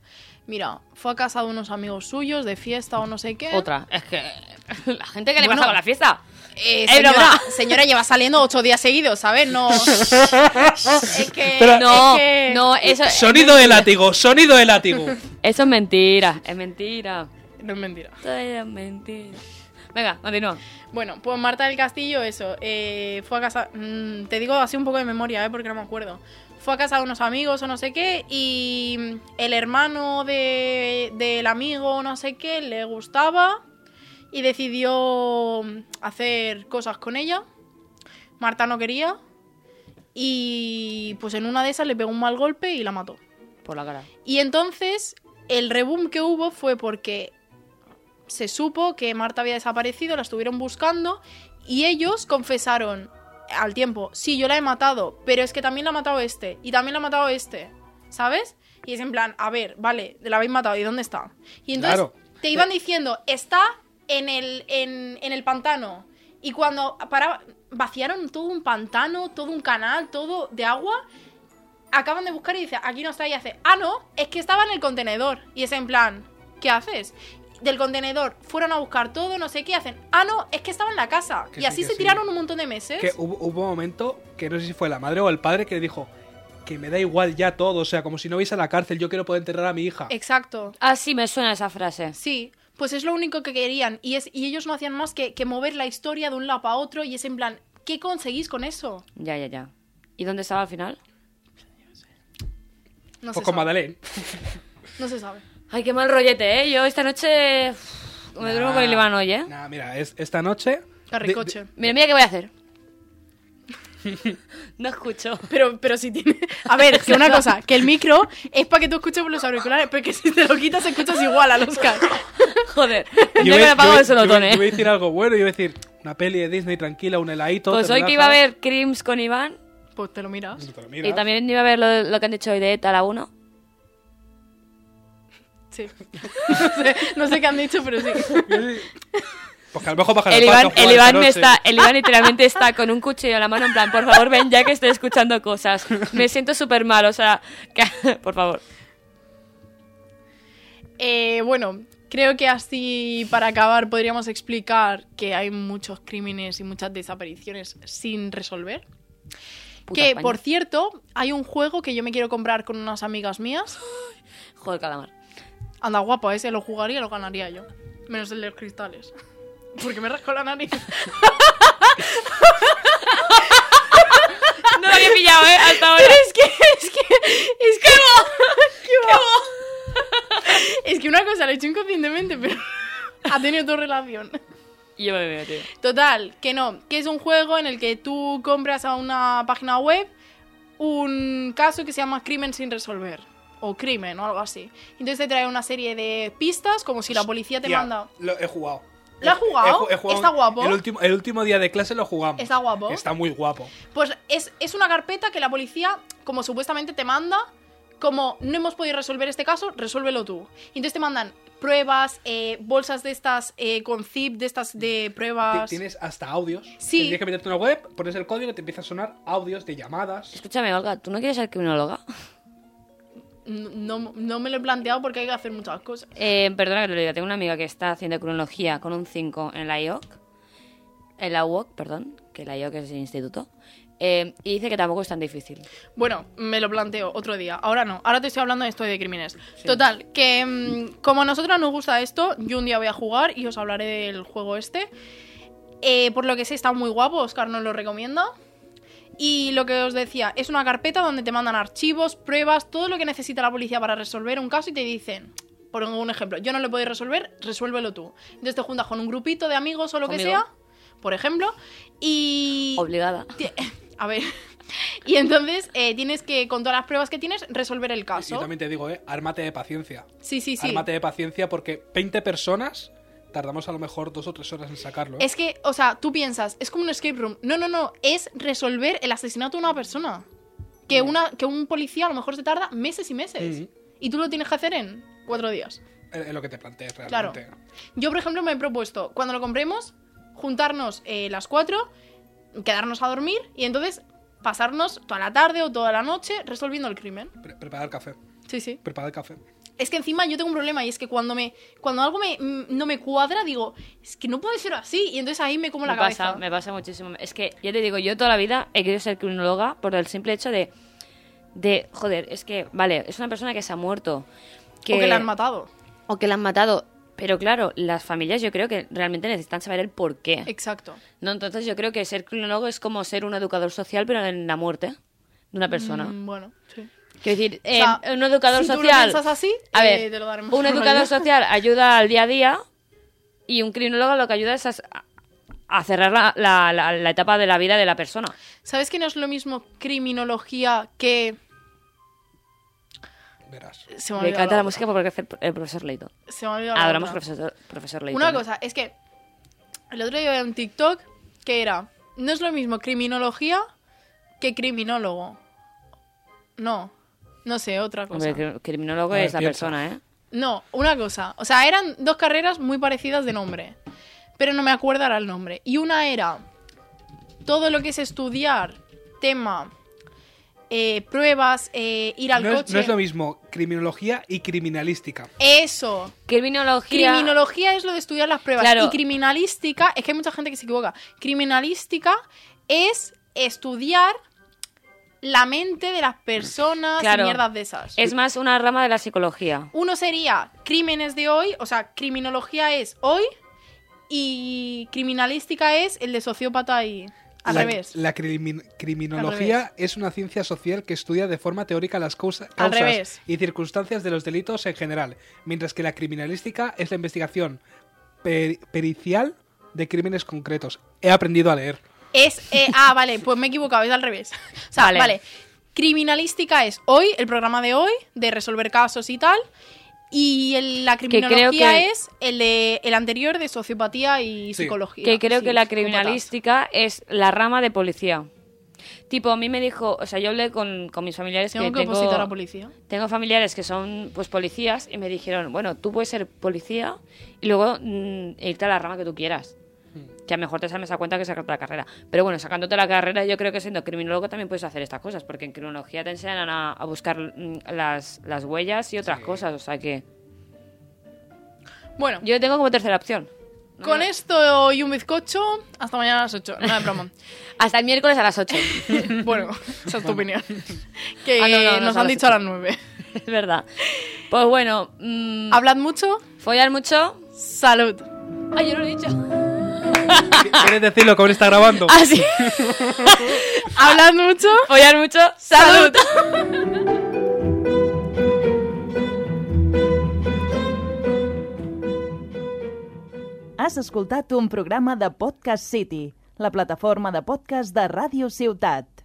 Speaker 3: Mira, fue a casa de unos amigos suyos de fiesta o no sé qué.
Speaker 4: Otra. Es que. La gente que le
Speaker 3: Bueno.
Speaker 4: pasa con la fiesta.
Speaker 3: Eh,
Speaker 4: Es
Speaker 3: señora,
Speaker 4: broma.
Speaker 3: señora lleva saliendo ocho días seguidos, ¿sabes? No. es que.
Speaker 4: no,
Speaker 3: es que-
Speaker 4: no, eh, eso.
Speaker 5: sonido de látigo, sonido de látigo.
Speaker 4: Eso es mentira. Es mentira.
Speaker 3: No es mentira.
Speaker 4: Todo es mentira. Venga, continúa.
Speaker 3: Bueno, pues Marta del Castillo, eso. eh, fue a casa. mm, te digo así un poco de memoria, ¿eh? Porque no me acuerdo. Fue a casa de unos amigos o no sé qué. Y mm, el hermano de, del amigo o no sé qué le gustaba. Y decidió mm, hacer cosas con ella. Marta no quería. Y pues en una de esas le pegó un mal golpe y la mató.
Speaker 4: Por la cara.
Speaker 3: Y entonces el reboom que hubo fue porque se supo que Marta había desaparecido, la estuvieron buscando y ellos confesaron al tiempo, sí, yo la he matado, pero es que también la ha matado este y también la ha matado este, ¿sabes? Y es en plan, a ver, vale, la habéis matado, ¿y dónde está? Y entonces
Speaker 5: Claro.
Speaker 3: te iban diciendo, está en el, en, en el pantano. Y cuando paraba, vaciaron todo un pantano, todo un canal, todo de agua acaban de buscar y dice, aquí no está, y hace, ah, no, es que estaba en el contenedor. Y es en plan, ¿qué haces? Del contenedor fueron a buscar todo, no sé qué, y hacen, ah, no, es que estaba en la casa.
Speaker 5: Que
Speaker 3: y
Speaker 5: sí,
Speaker 3: así
Speaker 5: que
Speaker 3: se
Speaker 5: sí.
Speaker 3: tiraron un montón de meses.
Speaker 5: Que hubo, hubo un momento que no sé si fue la madre o el padre que le dijo que me da igual ya todo, o sea, como si no vais a la cárcel, yo quiero poder enterrar a mi hija.
Speaker 3: Exacto.
Speaker 4: Ah, sí, me suena esa frase.
Speaker 3: Sí, pues es lo único que querían. Y, es, y ellos no hacían más que, que mover la historia de un lado a otro, y es en plan, ¿qué conseguís con eso?
Speaker 4: Ya, ya, ya. ¿Y dónde estaba al final?
Speaker 3: No se
Speaker 5: Pues con
Speaker 3: sabe.
Speaker 5: Madeleine.
Speaker 3: No se sabe.
Speaker 4: Ay, qué mal rollete, ¿eh? Yo esta noche uf, me duermo con el Iván hoy, ¿eh?
Speaker 5: Ah, Nah, mira, es- esta noche.
Speaker 3: Carricoche.
Speaker 5: de- de-
Speaker 4: Mira, mira qué voy a hacer. no escucho.
Speaker 3: Pero, pero si tiene. A ver, que una cosa, que el micro es para que tú escuches por los auriculares, pero que si te lo quitas escuchas igual a los caras.
Speaker 4: Joder.
Speaker 5: yo
Speaker 4: Tendré
Speaker 5: voy-
Speaker 4: que
Speaker 5: yo
Speaker 4: haber apagado
Speaker 5: voy-
Speaker 4: el solotón,
Speaker 5: yo voy- yo voy a
Speaker 4: ¿eh?
Speaker 5: decir algo bueno, yo voy a decir una peli de Disney tranquila, un heladito.
Speaker 4: Pues
Speaker 5: te
Speaker 4: hoy que iba a
Speaker 5: relajas,
Speaker 4: ver Crims con Iván
Speaker 3: Pues te lo miras.
Speaker 5: te lo
Speaker 4: y
Speaker 5: miras.
Speaker 4: también iba a ver lo, lo que han dicho hoy de ETA, la 1.
Speaker 3: Sí. No sé, no sé qué han dicho, pero sí.
Speaker 5: Pues que a lo mejor bajar
Speaker 4: El
Speaker 5: el
Speaker 4: Iván,
Speaker 5: pato,
Speaker 4: el
Speaker 5: jugar
Speaker 4: Iván
Speaker 5: esta
Speaker 4: me
Speaker 5: noche.
Speaker 4: está, el Iván literalmente está con un cuchillo en la mano en plan, por favor ven ya que estoy escuchando cosas. Me siento súper mal, o sea, que- por favor.
Speaker 3: Eh, bueno, creo que así para acabar podríamos explicar que hay muchos crímenes y muchas desapariciones sin resolver.
Speaker 4: Puta
Speaker 3: que,
Speaker 4: España.
Speaker 3: por cierto, hay un juego que yo me quiero comprar con unas amigas mías.
Speaker 4: Joder, calamar.
Speaker 3: Anda guapo, ese lo jugaría y lo ganaría yo. Menos el de los cristales. Porque me rasco la nariz.
Speaker 4: No lo había pillado, ¿eh? Hasta ahora.
Speaker 3: Es que, es que, es que. Es que una cosa lo he hecho inconscientemente, pero ha tenido tu relación.
Speaker 4: Y yo me veo, tío.
Speaker 3: Total, que no, que es un juego en el que tú compras a una página web un caso que se llama Crimen sin resolver. O crimen o algo así. Entonces te trae una serie de pistas, como si la policía te
Speaker 5: Tía,
Speaker 3: manda.
Speaker 5: Lo he jugado.
Speaker 3: ¿Lo has
Speaker 5: He- he-
Speaker 3: jugado?
Speaker 5: he jugado-
Speaker 3: ¿Está guapo?
Speaker 5: El último, el último día de clase lo jugamos.
Speaker 3: ¿Está guapo?
Speaker 5: Está muy guapo.
Speaker 3: Pues es, es una carpeta que la policía, como supuestamente te manda, como no hemos podido resolver este caso, resuélvelo tú. Y entonces te mandan pruebas, eh, bolsas de estas eh, con zip, de estas de
Speaker 5: Ti-
Speaker 3: pruebas.
Speaker 5: Tienes hasta audios.
Speaker 3: Ah, Sí.
Speaker 5: Tienes que meterte en una web, pones el código y te empieza a sonar audios de llamadas.
Speaker 4: Escúchame, Olga, ¿tú no quieres ser criminóloga?
Speaker 3: No, no- no me lo he planteado porque hay que hacer muchas cosas.
Speaker 4: Eh, perdona que te lo diga, tengo una amiga que está haciendo cronología con un 5 en la IOC. En la UOC, perdón, que la IOC es el instituto. eh, y dice que tampoco es tan difícil.
Speaker 3: Bueno, me lo planteo otro día. Ahora no. Ahora te estoy hablando de esto de crímenes. Total, que mm, como a nosotras nos gusta esto, yo un día voy a jugar y os hablaré del juego este. Eh, por lo que sé, está muy guapo. Oscar nos lo recomienda. Y lo que os decía, es una carpeta donde te mandan archivos, pruebas, todo lo que necesita la policía para resolver un caso y te dicen, por un ejemplo, yo no lo puedo resolver, resuélvelo tú. Entonces te juntas con un grupito de amigos o lo que
Speaker 4: Conmigo.
Speaker 3: sea, por ejemplo, y...
Speaker 4: Obligada.
Speaker 3: Ti- A ver. Y entonces eh, tienes que, con todas las pruebas que tienes, resolver el
Speaker 5: Y
Speaker 3: caso.
Speaker 5: también te digo, eh, ármate de paciencia.
Speaker 3: Sí, sí, sí.
Speaker 5: Ármate de paciencia porque 20 personas tardamos a lo mejor dos o tres horas en sacarlo. ¿eh?
Speaker 3: Es que, o sea, tú piensas, es como un escape room. No, no, no. Es resolver el asesinato de una persona. Que,
Speaker 5: Mm.
Speaker 3: una, que un policía a lo mejor se tarda meses y meses.
Speaker 5: Ujú.
Speaker 3: Y tú lo tienes que hacer en cuatro días.
Speaker 5: Es es lo que te plantees
Speaker 3: Claro.
Speaker 5: realmente.
Speaker 3: Yo, por ejemplo, me he propuesto, cuando lo compremos, juntarnos eh, las cuatro, quedarnos a dormir y entonces pasarnos toda la tarde o toda la noche resolviendo el crimen.
Speaker 5: Pre- preparar café.
Speaker 3: Sí, sí.
Speaker 5: Preparar café.
Speaker 3: Es que encima yo tengo un problema y es que cuando me cuando algo me, mm, no me cuadra digo, es que no puede ser así y entonces ahí me como
Speaker 4: me
Speaker 3: la cabeza.
Speaker 4: pasa, me pasa muchísimo. Es que ya te digo, yo toda la vida he querido ser criminóloga por el simple hecho de, de joder, es que, vale, es una persona que se ha muerto. Que,
Speaker 3: O que la han matado.
Speaker 4: o que la han matado. Pero claro, las familias yo creo que realmente necesitan saber el por qué.
Speaker 3: Exacto.
Speaker 4: No, entonces yo creo que ser criminólogo es como ser un educador social, pero en la muerte de una persona.
Speaker 3: Mm, bueno, sí.
Speaker 4: Quiero decir, eh,
Speaker 3: sea,
Speaker 4: un educador
Speaker 3: si tú lo
Speaker 4: social.
Speaker 3: piensas así,
Speaker 4: a
Speaker 3: eh,
Speaker 4: ver,
Speaker 3: te lo daremos
Speaker 4: un
Speaker 3: por
Speaker 4: educador
Speaker 3: válido.
Speaker 4: social ayuda al día a día y un criminólogo lo que ayuda es a, a cerrar la, la- la- la etapa de la vida de la persona.
Speaker 3: ¿Sabes que no es lo mismo criminología que
Speaker 5: Verás.
Speaker 3: se me ha olvidado
Speaker 4: Me encanta
Speaker 3: la
Speaker 4: la música porque hace el profesor Leito.
Speaker 3: otra. Se me ha olvidado la
Speaker 4: Adoramos
Speaker 3: otra.
Speaker 4: profesor, profesor ¿eh? Leito.
Speaker 3: Una cosa, es que el otro día vi un TikTok que era, no es lo mismo criminología que criminólogo. No, no sé, otra cosa.
Speaker 4: Hombre, cri- criminólogo
Speaker 5: A ver,
Speaker 4: es la
Speaker 5: piensa.
Speaker 4: persona, ¿eh?
Speaker 3: No, una cosa. O sea, eran dos carreras muy parecidas de nombre. Pero no me acuerdo ahora el nombre. Y una era todo lo que es estudiar tema eh, pruebas, eh, ir al
Speaker 5: no,
Speaker 3: coche.
Speaker 5: es, no es lo mismo criminología y criminalística.
Speaker 3: Eso.
Speaker 4: Criminología.
Speaker 3: Criminología es lo de estudiar las pruebas.
Speaker 4: Claro.
Speaker 3: Y criminalística, es que hay mucha gente que se equivoca. Criminalística es estudiar la mente de las personas
Speaker 4: Claro.
Speaker 3: y mierdas de esas.
Speaker 4: Es más una rama de la psicología.
Speaker 3: Uno sería crímenes de hoy, o sea, criminología es hoy y criminalística es el de sociópata y al
Speaker 5: la,
Speaker 3: revés.
Speaker 5: La crimin- criminología
Speaker 3: Al revés.
Speaker 5: es una ciencia social que estudia de forma teórica las causa-
Speaker 3: Al
Speaker 5: causas
Speaker 3: revés.
Speaker 5: y circunstancias de los delitos en general, mientras que la criminalística es la investigación per- pericial de crímenes concretos. He aprendido a leer.
Speaker 3: Es. eh, ah, vale, pues me he equivocado, es al revés. O sea,
Speaker 4: Vale.
Speaker 3: vale. Criminalística es hoy, el programa de hoy, de resolver casos y tal. Y el- la
Speaker 4: creo
Speaker 3: criminología
Speaker 4: que-
Speaker 3: es el, de- el anterior de sociopatía y
Speaker 5: Sí.
Speaker 3: psicología.
Speaker 4: Que creo
Speaker 3: Sí,
Speaker 4: que la
Speaker 3: psicópatas.
Speaker 4: criminalística es la rama de policía. Tipo, a mí me dijo, o sea, yo hablé con, con mis familiares
Speaker 3: Tengo que
Speaker 4: tengo,
Speaker 3: opositar a la policía.
Speaker 4: tengo familiares que son pues policías y me dijeron, bueno, tú puedes ser policía y luego mm, irte a la rama que tú quieras.
Speaker 3: Hmm.
Speaker 4: Que a lo mejor te sales a cuenta que sacarte la carrera. Pero bueno, sacándote la carrera, yo creo que siendo criminólogo también puedes hacer estas cosas, porque en criminología te enseñan a, a buscar mm, las, las huellas y otras cosas. O sea que
Speaker 3: Bueno,
Speaker 4: yo tengo como tercera opción.
Speaker 3: con e- esto y un bizcocho, hasta mañana a las 8. No, es broma.
Speaker 4: Hasta el miércoles a las 8.
Speaker 3: bueno, esa es tu opinión. Que
Speaker 4: Ah, no, no, no,
Speaker 3: nos
Speaker 4: son
Speaker 3: han
Speaker 4: las
Speaker 3: dicho a las 9.
Speaker 4: es verdad. Pues bueno, mm,
Speaker 3: Hablad mucho.
Speaker 4: follar mucho.
Speaker 3: Salud.
Speaker 4: Ay, yo no lo he dicho.
Speaker 5: ¿Quieres decirlo que aún está grabando?
Speaker 4: Así.
Speaker 3: Hablad mucho.
Speaker 4: Ah, follar mucho.
Speaker 3: Salud.
Speaker 1: Has escoltat un programa de Podcast City, la plataforma de podcast de Ràdio Ciutat.